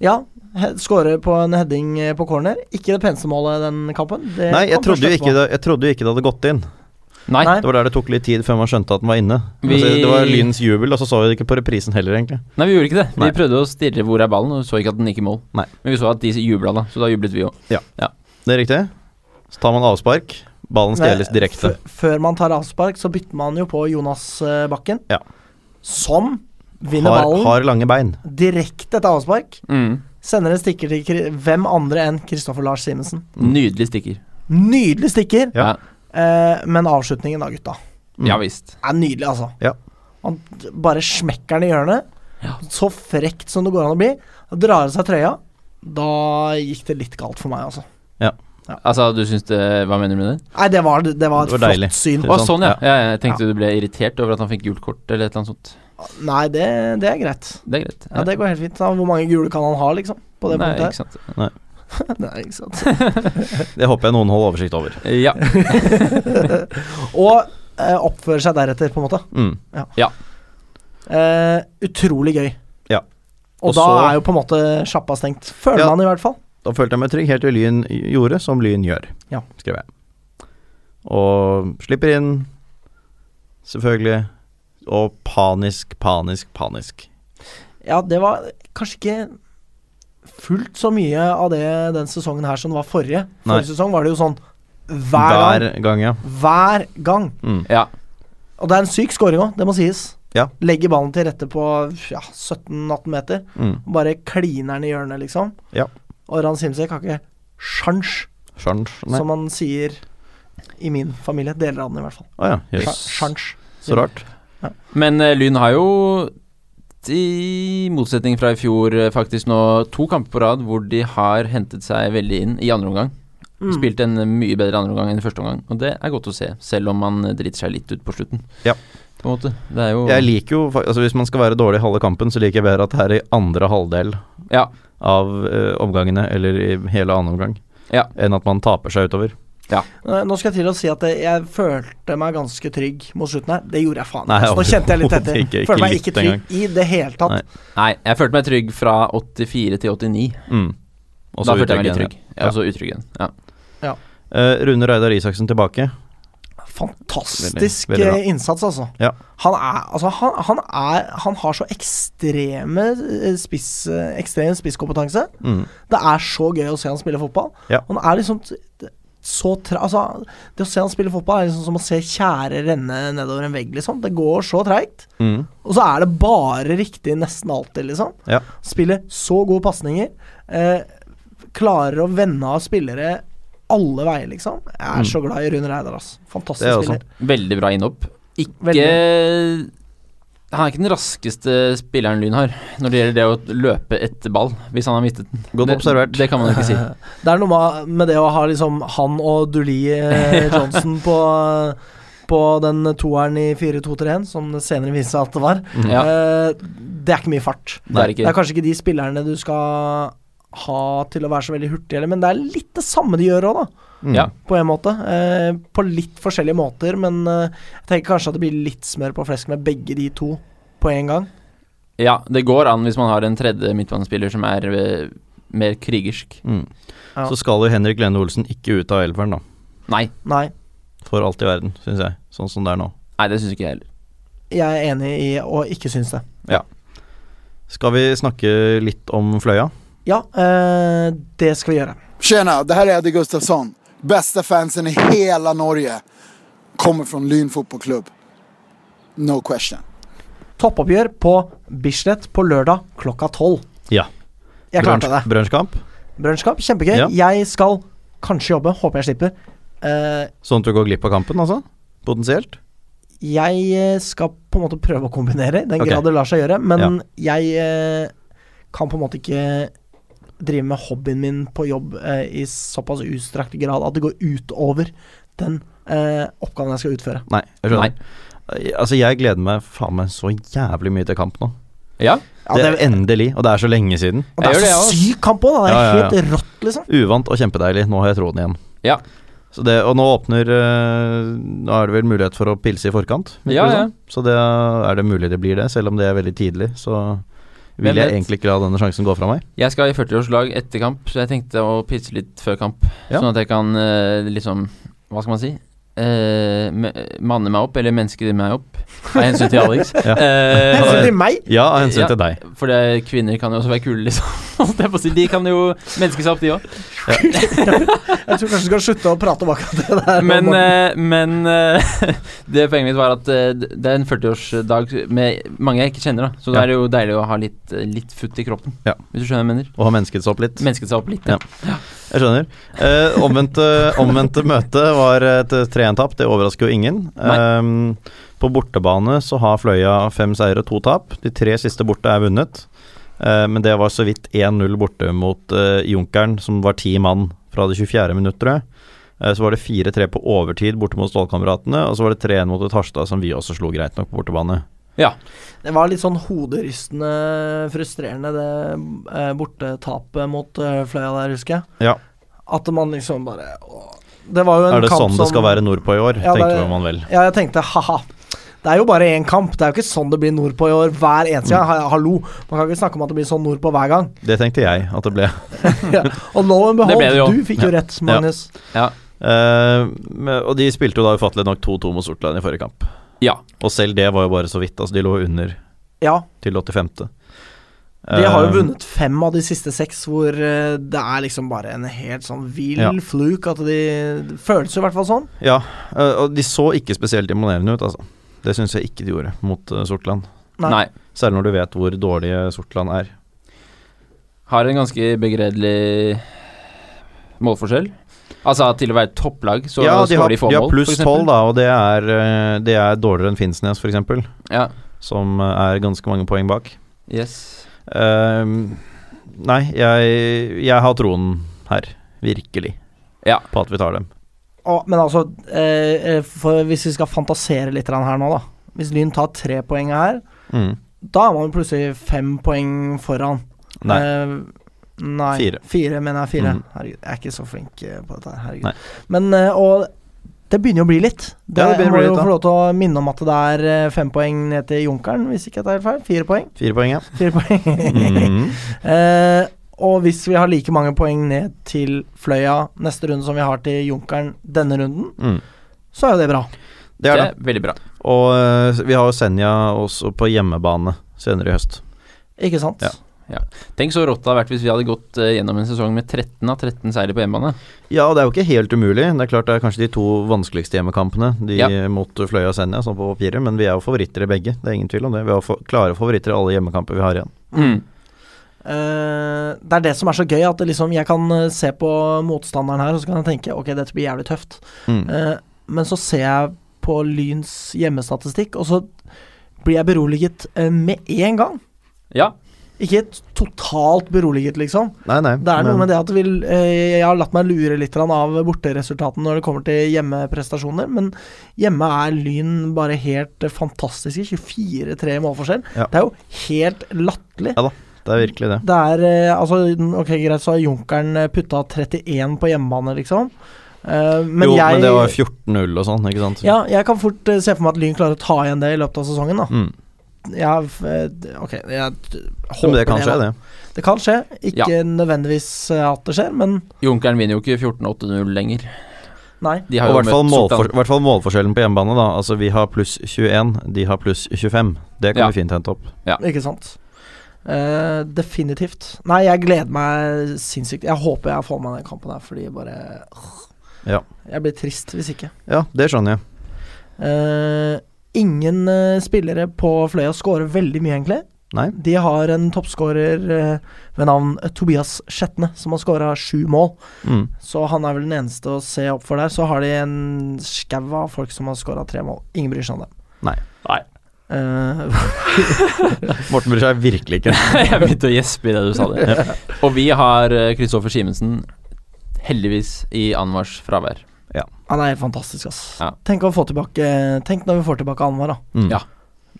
Speaker 1: Ja. he- Skåre på en heading eh, på corner. Ikke det peneste målet den kampen. Det
Speaker 2: Nei, jeg
Speaker 1: Eh, kom først
Speaker 2: trodde, jo
Speaker 1: etterpå.
Speaker 2: ikke det, jeg trodde jo ikke det hadde gått inn.
Speaker 3: Nei.
Speaker 1: Nei.
Speaker 2: Det var der det tok litt tid før man skjønte at den var inne.
Speaker 3: Vi-
Speaker 2: Altså, det var Lyns jubel, og så så vi det ikke på reprisen heller, egentlig.
Speaker 3: Nei, vi gjorde ikke det.
Speaker 2: Nei.
Speaker 3: Vi prøvde å stirre hvor er ballen, og så ikke at den gikk i mål.
Speaker 2: Nei.
Speaker 3: Men vi så at de jubla, da, så da jublet vi òg.
Speaker 2: Det er riktig. Så tar man avspark. Ballen stjeles
Speaker 1: Nei,
Speaker 2: direkte.
Speaker 1: f- Før man tar avspark, så bytter man jo på Jonas eh, Bakken.
Speaker 2: Ja.
Speaker 1: Som vinner
Speaker 2: Har,
Speaker 1: ballen
Speaker 2: har lange bein.
Speaker 1: direkte etter avspark.
Speaker 3: Mm.
Speaker 1: Sender en stikker til Kri- hvem andre enn Kristoffer Lars Simensen.
Speaker 3: Nydelig stikker.
Speaker 1: Nydelig stikker,
Speaker 2: Ja.
Speaker 1: eh, men avslutningen da, gutta.
Speaker 3: Ja visst.
Speaker 1: er nydelig, altså.
Speaker 2: Ja.
Speaker 1: Han d- bare smekker den i hjørnet. Så frekt som det går an å bli. Han drar av seg trøya. Da gikk det litt galt for meg, altså.
Speaker 3: Altså, du syns det Hva mener du med det?
Speaker 1: Nei, det var, det var et
Speaker 2: Det var deilig.
Speaker 1: flott syn.
Speaker 2: Det-
Speaker 3: Å,
Speaker 2: sant,
Speaker 3: sånn, ja. ja. Jeg tenkte du ble irritert over at han fikk gult kort eller et eller annet sånt.
Speaker 1: Nei, det, det er greit.
Speaker 3: Det er greit.
Speaker 1: Ja, Det går helt fint. Da. Hvor mange gule kan han ha, liksom? På det
Speaker 3: Nei,
Speaker 1: punktet
Speaker 3: ikke sant.
Speaker 1: her. Nei, ikke sant.
Speaker 2: Det håper jeg noen holder oversikt over.
Speaker 3: Ja.
Speaker 1: Og eh, oppfører seg deretter, på en måte.
Speaker 2: Mm.
Speaker 1: Eh, utrolig gøy.
Speaker 2: Ja.
Speaker 1: Og,
Speaker 2: Og
Speaker 1: da
Speaker 2: så-
Speaker 1: er jo på en måte sjappa stengt. Føler
Speaker 2: Ja.
Speaker 1: man i hvert fall.
Speaker 2: Da følte jeg meg trygg, helt til Lyn gjorde som Lyn gjør,
Speaker 1: Ja.
Speaker 2: skrev jeg. Og slipper inn, selvfølgelig. Og panisk, panisk, panisk.
Speaker 1: Ja, det var kanskje ikke fullt så mye av det den sesongen her som det var forrige.
Speaker 2: Nei.
Speaker 1: Forrige sesong var det jo sånn hver gang.
Speaker 2: gang, ja.
Speaker 1: Hver gang.
Speaker 2: Mm.
Speaker 3: ja.
Speaker 1: Og det er en syk scoring òg, det må sies.
Speaker 2: Ja.
Speaker 1: Legger ballen til rette på ja, 17-18 meter.
Speaker 2: Mm.
Speaker 1: Bare kliner den i hjørnet, liksom.
Speaker 2: Ja.
Speaker 1: Og Ran Simsek har ikke sjans,
Speaker 2: Sjans, nei.
Speaker 1: som man sier i min familie. Deler av den, i hvert fall.
Speaker 2: Å ja, jøss.
Speaker 1: Sja- Sjans.
Speaker 2: Så rart.
Speaker 3: Men eh, Lyn har jo i motsetning fra i fjor eh, faktisk nå to kamper på rad hvor de har hentet seg veldig inn i andre omgang.
Speaker 1: Mm.
Speaker 3: Spilt en eh, mye bedre andre omgang enn første omgang, og det er godt å se, selv om man eh, driter seg litt ut på slutten.
Speaker 2: Ja.
Speaker 3: På en måte. Det er jo
Speaker 2: Jeg liker jo, fa- altså Hvis man skal være dårlig i halve kampen, så liker jeg bedre at det er i andre halvdel
Speaker 3: Ja.
Speaker 2: av eh, omgangene, eller i hele annen omgang,
Speaker 3: Ja.
Speaker 2: enn at man taper seg utover.
Speaker 1: Eh, Nå skal jeg til å si at eh, jeg følte meg ganske trygg mot slutten her. Det gjorde jeg faen.
Speaker 2: Nei,
Speaker 1: altså, nå kjente jeg litt
Speaker 2: overhodet
Speaker 1: etter.
Speaker 2: ikke, ikke
Speaker 1: følte meg
Speaker 2: litt
Speaker 1: ikke trygg
Speaker 2: engang.
Speaker 1: i det hele tatt.
Speaker 2: Nei.
Speaker 3: Nei, jeg følte meg trygg fra 84 til 89.
Speaker 2: Mm. Og
Speaker 3: da
Speaker 2: så
Speaker 3: følte jeg
Speaker 2: utrygg
Speaker 3: meg
Speaker 2: igjen,
Speaker 3: litt trygg. Ja, og så utrygg igjen. Ja.
Speaker 2: ja. Eh, Rune Reidar Isaksen tilbake.
Speaker 1: Fantastisk
Speaker 2: Veldig- veldig bra.
Speaker 1: eh, innsats, altså.
Speaker 2: Ja.
Speaker 1: Han er Altså, han, han er Han har så ekstreme eh, spiss, eh, ekstrem spisskompetanse.
Speaker 2: Mm.
Speaker 1: Det er så gøy å se han spille fotball.
Speaker 2: Ja.
Speaker 1: Han er liksom t- t- så tra... Altså, det å se han spille fotball er liksom som å se tjære renne nedover en vegg, liksom. Det går så treigt.
Speaker 2: Mm.
Speaker 1: Og så er det bare riktig nesten alltid, liksom.
Speaker 2: Ja.
Speaker 1: Spiller så gode pasninger. Eh, klarer å vende av spillere alle veier, liksom. Jeg er så glad i Rune Reidar, ass. Fantastisk
Speaker 2: Mm. Det er jo
Speaker 1: spiller.
Speaker 3: Veldig bra innhopp. Ikke Han er ikke den raskeste spilleren Lyn har når det gjelder det å løpe etter ball, hvis han har mistet den.
Speaker 2: Godt
Speaker 3: det,
Speaker 2: observert.
Speaker 3: Det kan man ikke si.
Speaker 1: Det er noe ma- med det å ha liksom han og Duli eh, Johnson på på den toeren i 4-2-3-1, som det senere viste seg at det var.
Speaker 2: Mm.
Speaker 3: Ja,
Speaker 1: Eh, det er ikke mye fart.
Speaker 3: det
Speaker 1: Det
Speaker 3: er
Speaker 1: er
Speaker 3: ikke
Speaker 1: kanskje ikke de spillerne du skal ha til å være så veldig hurtig, eller, men det er litt det samme de gjør òg, da.
Speaker 2: Mm.
Speaker 3: Ja.
Speaker 1: på en måte. Eh, på litt forskjellige måter, men eh, jeg tenker kanskje at det blir litt smør på flesk med begge de to på en gang.
Speaker 3: Ja, det går an hvis man har en tredje midtbanespiller som er eh, mer krigersk.
Speaker 2: Mm.
Speaker 1: Ja.
Speaker 2: Så skal jo Henrik Lene Olsen ikke ut av elveren, da.
Speaker 3: Nei,
Speaker 1: Nei,
Speaker 2: For alt i verden, syns jeg. Sånn som det er nå.
Speaker 3: nei det syns ikke jeg heller.
Speaker 1: jeg er enig i å ikke synes det.
Speaker 2: Skal vi snakke litt om Fløya?
Speaker 1: Ja, eh, det skal vi gjøre.
Speaker 6: Tjena, det här är Eddie Gustafsson. Bästa fansen i hela Norge. Kommer från Lyn fotbollsklubb. No question.
Speaker 1: Toppoppgjør på Bislett på lørdag klokka tolv.
Speaker 2: Ja.
Speaker 1: Jeg klarte det.
Speaker 2: Brunsjkamp?
Speaker 1: Brunsjkamp, kjempegøy.
Speaker 2: Ja.
Speaker 1: Jeg skal kanskje jobbe, håper jeg slipper. Eh,
Speaker 2: Sånn at du går glipp av kampen, altså? Potensielt?
Speaker 1: jeg eh, skal på en måte prøve å kombinere, i den
Speaker 2: Ok.
Speaker 1: grad det lar seg gjøre. Men jeg eh, kan på en måte ikke drive med hobbyen min på jobb eh, i såpass utstrakt grad at det går utover den eh, oppgaven jeg skal utføre.
Speaker 2: Nei. Jeg skjønner. Altså, jeg gleder meg faen meg så jævlig mye til kamp nå.
Speaker 3: Ja,
Speaker 1: Ja,
Speaker 2: det
Speaker 1: det,
Speaker 2: er endelig, og det er så lenge siden.
Speaker 1: og det
Speaker 3: jeg
Speaker 1: er
Speaker 3: gjør
Speaker 1: så
Speaker 3: det,
Speaker 1: syk kamp òg, det er
Speaker 2: Ja, ja, ja.
Speaker 1: helt rått, liksom.
Speaker 2: Uvant og kjempedeilig. Nå har jeg troen igjen.
Speaker 3: Ja.
Speaker 2: Så det, og nå åpner eh, Nå er det vel mulighet for å pilse i forkant, virker
Speaker 3: Ja,
Speaker 2: det
Speaker 3: ja.
Speaker 2: som. Så det er det mulig det blir det, selv om det er veldig tidlig. Så vil
Speaker 3: Hvem
Speaker 2: jeg
Speaker 3: vet?
Speaker 2: egentlig ikke la denne sjansen gå fra meg.
Speaker 3: Jeg skal i 40-årslag etter kamp, så jeg tenkte å pisse litt før kamp.
Speaker 2: Ja.
Speaker 3: Sånn at jeg kan eh, liksom Hva skal man si? Eh, me- manne meg opp, eller menneske meg opp, av hensyn til Alex.
Speaker 2: Ja.
Speaker 3: Eh,
Speaker 1: Hensyn til meg!
Speaker 2: Ja, av hensyn
Speaker 3: Ja.
Speaker 2: til deg.
Speaker 3: for det, kvinner kan jo også være kule, liksom. holdt jeg på å si. De kan jo menneske seg opp, de òg.
Speaker 1: Jeg tror kanskje du skal slutte å prate om akkurat det der.
Speaker 3: Men,
Speaker 1: Morten.
Speaker 3: eh, men eh, det poenget mitt var at eh, det er en 40-årsdag med mange jeg ikke kjenner, da. Så da
Speaker 2: Ja.
Speaker 3: er det jo deilig å ha litt, eh, litt futt i kroppen,
Speaker 2: Ja.
Speaker 3: hvis du skjønner hva jeg mener.
Speaker 2: Og har mennesket seg opp litt.
Speaker 3: Mennesket seg opp litt. Ja.
Speaker 2: Jeg skjønner. Eh, omvendte, omvendte møte var et 3-1-tap. Det overrasker jo ingen. Ehm, på bortebane så har Fløya fem seire og to tap. De tre siste borte er vunnet. Eh, men det var så vidt 1-0 borte mot eh, Junkeren, som var ti mann fra det 24. minutt, tror jeg. Eh, Så var det 4-3 på overtid borte mot Stålkameratene, og så var det 3-1 mot Harstad, som vi også slo greit nok på bortebane.
Speaker 1: Det var litt sånn hoderystende frustrerende, det eh, bortetapet mot eh, Fløya der, husker jeg.
Speaker 2: Ja.
Speaker 1: At man liksom bare å, Det var jo en
Speaker 2: Er det
Speaker 1: kamp
Speaker 2: sånn
Speaker 1: som
Speaker 2: det skal være nordpå i år,
Speaker 1: Ja, det-
Speaker 2: tenker man vel.
Speaker 1: Ja, jeg tenkte ha-ha. Det er jo bare én kamp. Det er jo ikke sånn det blir nordpå i år hver eneste
Speaker 3: Mm.
Speaker 1: gang. Ha- Hallo. Man kan ikke snakke om at det blir sånn nordpå hver gang.
Speaker 2: Det tenkte jeg at det ble.
Speaker 1: Ja. Og lo and
Speaker 3: Det ble det jo.
Speaker 1: behold, du fikk jo rett, Magnus.
Speaker 2: Eh, men- og de spilte jo da ufattelig nok 2-2 mot Sortland i forrige kamp.
Speaker 3: Ja.
Speaker 2: Og selv det var jo bare så vidt. Altså, de lå under
Speaker 1: Ja.
Speaker 2: til 85.
Speaker 1: De har jo
Speaker 2: Eh,
Speaker 1: vunnet fem av de siste seks, hvor eh, det er liksom bare en helt sånn vill
Speaker 2: Ja.
Speaker 1: fluke at de Det føles jo i hvert fall sånn.
Speaker 2: Ja, eh, og de så ikke spesielt imponerende ut, altså. Det syns jeg ikke de gjorde mot eh, Sortland.
Speaker 1: Nei.
Speaker 3: Nei.
Speaker 2: Særlig når du vet hvor dårlige Sortland er.
Speaker 3: Har en ganske begredelig målforskjell. Altså til å være et topplag, så
Speaker 2: ja, de
Speaker 3: skårer
Speaker 2: har,
Speaker 3: de få
Speaker 2: de har
Speaker 3: mål,
Speaker 2: pluss
Speaker 3: for eksempel.
Speaker 2: 12, da, og det er, eh, det er dårligere enn Finnsnes, f.eks.,
Speaker 3: Ja.
Speaker 2: som eh, er ganske mange poeng bak.
Speaker 3: Yes.
Speaker 2: Eh, nei, jeg, jeg har troen her, virkelig,
Speaker 3: Ja.
Speaker 2: på at vi tar dem.
Speaker 1: Og, men altså, eh, eh, for hvis vi skal fantasere litt grann her nå, da. Hvis Lyn tar tre poeng her,
Speaker 2: Mm.
Speaker 1: da er man jo plutselig fem poeng foran.
Speaker 2: Nei.
Speaker 1: Eh, nei.
Speaker 2: Fire.
Speaker 1: Fire, mener jeg. Fire.
Speaker 2: Mhm.
Speaker 1: Herregud, jeg er ikke så flink eh, på dette. her, Herregud.
Speaker 2: Nei.
Speaker 1: Men eh, og det begynner jo å bli litt. Det,
Speaker 2: Ja, det begynner å
Speaker 1: må
Speaker 2: bli
Speaker 1: jo
Speaker 2: litt, da.
Speaker 1: få lov til å minne om at det er eh, fem poeng ned til Junkeren, hvis ikke jeg tar helt feil. Fire poeng.
Speaker 2: Fire poeng, ja.
Speaker 1: Fire poeng.
Speaker 2: Mhm.
Speaker 1: Eh, og hvis vi har like mange poeng ned til Fløya neste runde som vi har til Junkeren denne runden,
Speaker 2: Mm.
Speaker 1: så er jo det bra.
Speaker 2: Det er det.
Speaker 3: Veldig bra.
Speaker 2: Og eh, vi har jo Senja også på hjemmebane senere i høst.
Speaker 1: Ikke sant?
Speaker 2: Ja.
Speaker 3: Tenk så rått det hadde vært hvis vi hadde gått eh, gjennom en sesong med 13 av 13 seire på hjemmebane.
Speaker 2: Ja, det er jo ikke helt umulig. Det er klart det er kanskje de to vanskeligste hjemmekampene, de
Speaker 3: Ja.
Speaker 2: mot Fløya og Senja, sånn på papiret, men vi er jo favoritter i begge. Det er ingen tvil om det. Vi er jo fa- klare favoritter i alle hjemmekamper vi har igjen.
Speaker 1: Eh, det er det som er så gøy, at det liksom, jeg kan eh, se på motstanderen her og så kan jeg tenke ok, dette blir jævlig tøft.
Speaker 2: Mm.
Speaker 1: Eh, men så ser jeg på Lyns hjemmestatistikk, og så blir jeg beroliget eh, med en gang.
Speaker 3: Ja.
Speaker 1: Ikke totalt beroliget, liksom.
Speaker 2: Nei, nei.
Speaker 1: Det er noe med det at vi, eh, jeg har latt meg lure litt grann av borteresultatene når det kommer til hjemmeprestasjoner, men hjemme er Lyn bare helt eh, fantastiske. 24-3 i målforskjell.
Speaker 2: Ja.
Speaker 1: Det er jo helt latterlig.
Speaker 2: Ja da, det er virkelig det.
Speaker 1: Det er eh, altså Ok, greit, så har Junkeren eh, putta 31 på hjemmebane, liksom. Eh, men
Speaker 2: jo,
Speaker 1: jeg
Speaker 2: men det var 14-0 og sånn, ikke sant?
Speaker 1: ja, jeg kan fort eh, se for meg at Lyn klarer å ta igjen det i løpet av sesongen. da
Speaker 2: Mm.
Speaker 1: jeg, eh, d- Ok, jeg d-
Speaker 2: Men
Speaker 1: håper
Speaker 2: det kan skje,
Speaker 1: da.
Speaker 2: det.
Speaker 1: Det kan skje. Ikke nødvendigvis eh, at det skjer, men
Speaker 3: Junkeren vinner jo ikke 14-8-0 lenger.
Speaker 1: nei.
Speaker 2: Og i
Speaker 3: De jo
Speaker 2: hvert fall,
Speaker 3: møtt
Speaker 2: målfor,
Speaker 3: Sortland.
Speaker 2: hvert fall målforskjellen på hjemmebane, da. Altså vi har pluss 21, de har pluss 25. Det kan
Speaker 3: Ja.
Speaker 2: vi fint hente opp.
Speaker 1: Ikke sant. Eh, definitivt. Nei, jeg gleder meg sinnssykt. Jeg håper jeg får meg den kampen her, fordi jeg bare åh.
Speaker 2: Ja.
Speaker 1: Jeg blir trist hvis ikke.
Speaker 2: Ja, det skjønner jeg.
Speaker 1: Eh, ingen eh, spillere på Fløya scorer veldig mye, egentlig.
Speaker 2: Nei.
Speaker 1: De har en toppskårer eh, ved navn eh, Tobias Skjetne, som har skåra sju mål.
Speaker 2: Mm.
Speaker 1: Så han er vel den eneste å se opp for der. Så har de en skau av folk som har skåra tre mål. Ingen bryr seg om det.
Speaker 2: Nei.
Speaker 3: Nei.
Speaker 1: Eh,
Speaker 2: Morten bryr seg virkelig ikke.
Speaker 3: Jeg begynte å gjespe idet du sa det. Og vi har eh, Kristoffer Simensen, heldigvis, i Anwars fravær.
Speaker 1: han er helt fantastisk, ass.
Speaker 3: Ja.
Speaker 1: Tenk å få tilbake Tenk når vi får tilbake Anwar, da.
Speaker 2: Mm.
Speaker 3: Ja.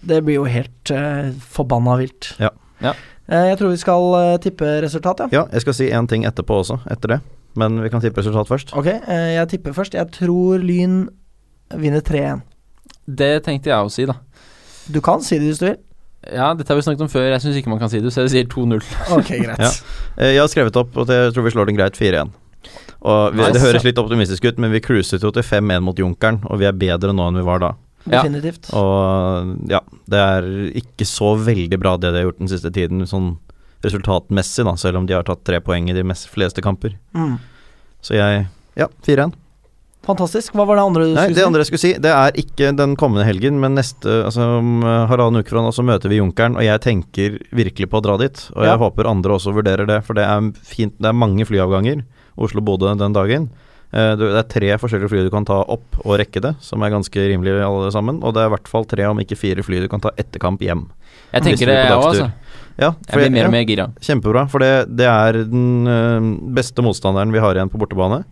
Speaker 1: Det blir jo helt eh, forbanna vilt.
Speaker 2: Ja.
Speaker 3: Ja.
Speaker 1: Eh, jeg tror vi skal eh, tippe resultat, ja.
Speaker 2: Ja, jeg skal si én ting etterpå også, etter det. Men vi kan tippe resultat først.
Speaker 1: Ok, eh, jeg tipper først. Jeg tror Lyn vinner 3-1.
Speaker 3: Det tenkte jeg å si, da.
Speaker 1: Du kan si det hvis du vil.
Speaker 3: Ja, dette har vi snakket om før. Jeg syns ikke man kan si det, så jeg sier 2-0.
Speaker 1: Ok, greit.
Speaker 2: Ja. Eh, Jeg har skrevet opp at jeg tror vi slår den greit 4-1. Og vi,
Speaker 1: Nice.
Speaker 2: Det høres litt optimistisk ut, men vi cruiset jo til 5-1 mot Junkeren, og vi er bedre nå enn vi var da.
Speaker 3: Ja.
Speaker 1: Definitivt.
Speaker 2: Og ja, det er ikke så veldig bra det de har gjort den siste tiden, sånn resultatmessig, da, selv om de har tatt tre poeng i de mest fleste kamper.
Speaker 1: Mm.
Speaker 2: Så jeg Ja, 4-1.
Speaker 1: Fantastisk. Hva var det andre du
Speaker 2: Nei, det
Speaker 1: skulle
Speaker 2: andre jeg skulle si, det er ikke den kommende helgen, men neste altså om eh, halvannen uke fra nå så møter vi Junkeren, og jeg tenker virkelig på å dra dit. Og
Speaker 1: Ja.
Speaker 2: jeg håper andre også vurderer det, for det er fint Det er mange flyavganger Oslo-Bodø den dagen. Eh, du- Det er tre forskjellige fly du kan ta opp og rekke det, som er ganske rimelig alle sammen. Og det er i hvert fall tre, om ikke fire fly du kan ta etter kamp hjem.
Speaker 3: Jeg
Speaker 2: Hvis vi
Speaker 3: tenker det,
Speaker 2: er på
Speaker 3: jeg òg, altså.
Speaker 2: dagstur. Ja, for
Speaker 3: Jeg blir mer
Speaker 2: ja,
Speaker 3: og mer gira.
Speaker 2: Kjempebra, for det, det er den eh, beste motstanderen vi har igjen på bortebane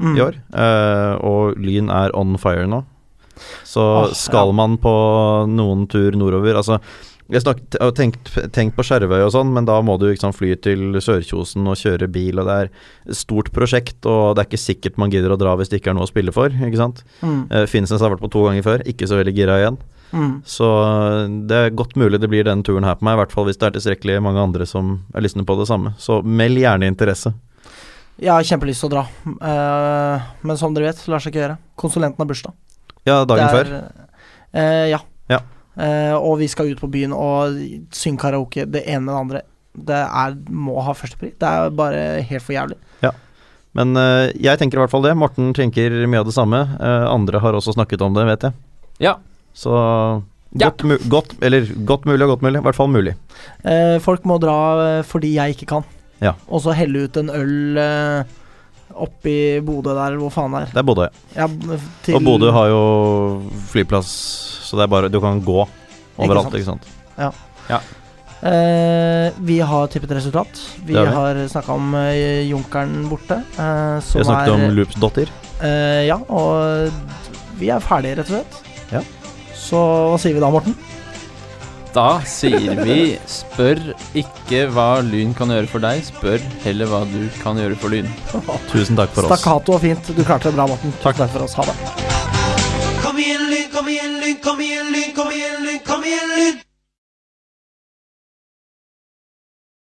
Speaker 1: Mm.
Speaker 2: i år. eh, og Lyn er on fire nå. Så
Speaker 1: Åh,
Speaker 2: skal man på noen tur nordover Altså, jeg snakket og tenkt, tenkt på Skjervøy og sånn, men da må du ikke sant, fly til Sør-Kjosen og kjøre bil, og det er et stort prosjekt, og det er ikke sikkert man gidder å dra hvis det ikke er noe å spille for, ikke sant.
Speaker 1: Mm.
Speaker 2: Uh, Finnsnes har vært på to ganger før, ikke så veldig gira igjen.
Speaker 1: Mm.
Speaker 2: Så eh, det er godt mulig det blir denne turen her på meg, i hvert fall hvis det er tilstrekkelig mange andre som er lystne på det samme. Så meld gjerne interesse.
Speaker 1: Jeg har kjempelyst til å dra, eh, men som dere vet, lar seg ikke gjøre. Konsulenten har bursdag.
Speaker 2: Ja, dagen
Speaker 1: Det
Speaker 2: før.
Speaker 1: er, eh, ja.
Speaker 2: Ja.
Speaker 1: Eh, og vi skal ut på byen og synge karaoke, det ene med det andre. Det er, må ha førstepri. Det er bare helt for jævlig.
Speaker 2: Men eh, jeg tenker i hvert fall det. Morten tenker mye av det samme. Eh, andre har også snakket om det, vet jeg.
Speaker 3: Ja.
Speaker 2: Så
Speaker 3: Ja.
Speaker 2: godt, mu godt, eller, godt mulig og godt mulig. I hvert fall mulig.
Speaker 1: Eh, folk må dra eh, fordi jeg ikke kan.
Speaker 2: Ja.
Speaker 1: Og så helle ut en øl eh, oppi Bodø der, eller hvor faen det er.
Speaker 2: Det er Bodø, ja.
Speaker 1: Ja, til-
Speaker 2: Og Bodø har jo flyplass, så det er bare Du kan gå overalt,
Speaker 1: sant?
Speaker 2: ikke sant.
Speaker 1: Eh, vi har tippet resultat. Vi
Speaker 2: Det har vi.
Speaker 1: har snakka om eh, Junkeren borte. eh, som
Speaker 2: Vi har snakket
Speaker 1: er,
Speaker 2: om loopsdotter.
Speaker 1: eh, Ja, og vi er ferdige, rett og slett.
Speaker 2: Ja.
Speaker 1: Så hva sier vi da, Morten?
Speaker 3: Da sier vi spør ikke hva Lyn kan gjøre for deg, spør heller hva du kan gjøre for Lyn.
Speaker 2: Tusen takk for oss.
Speaker 1: Stakkato og fint. Du klarte det bra, Morten. Takk for oss. Ha det.
Speaker 7: Kom igjen, Lyn, kom igjen, Lyn, kom igjen, Lyn, kom igjen, Lyn, kom igjen, Lyn!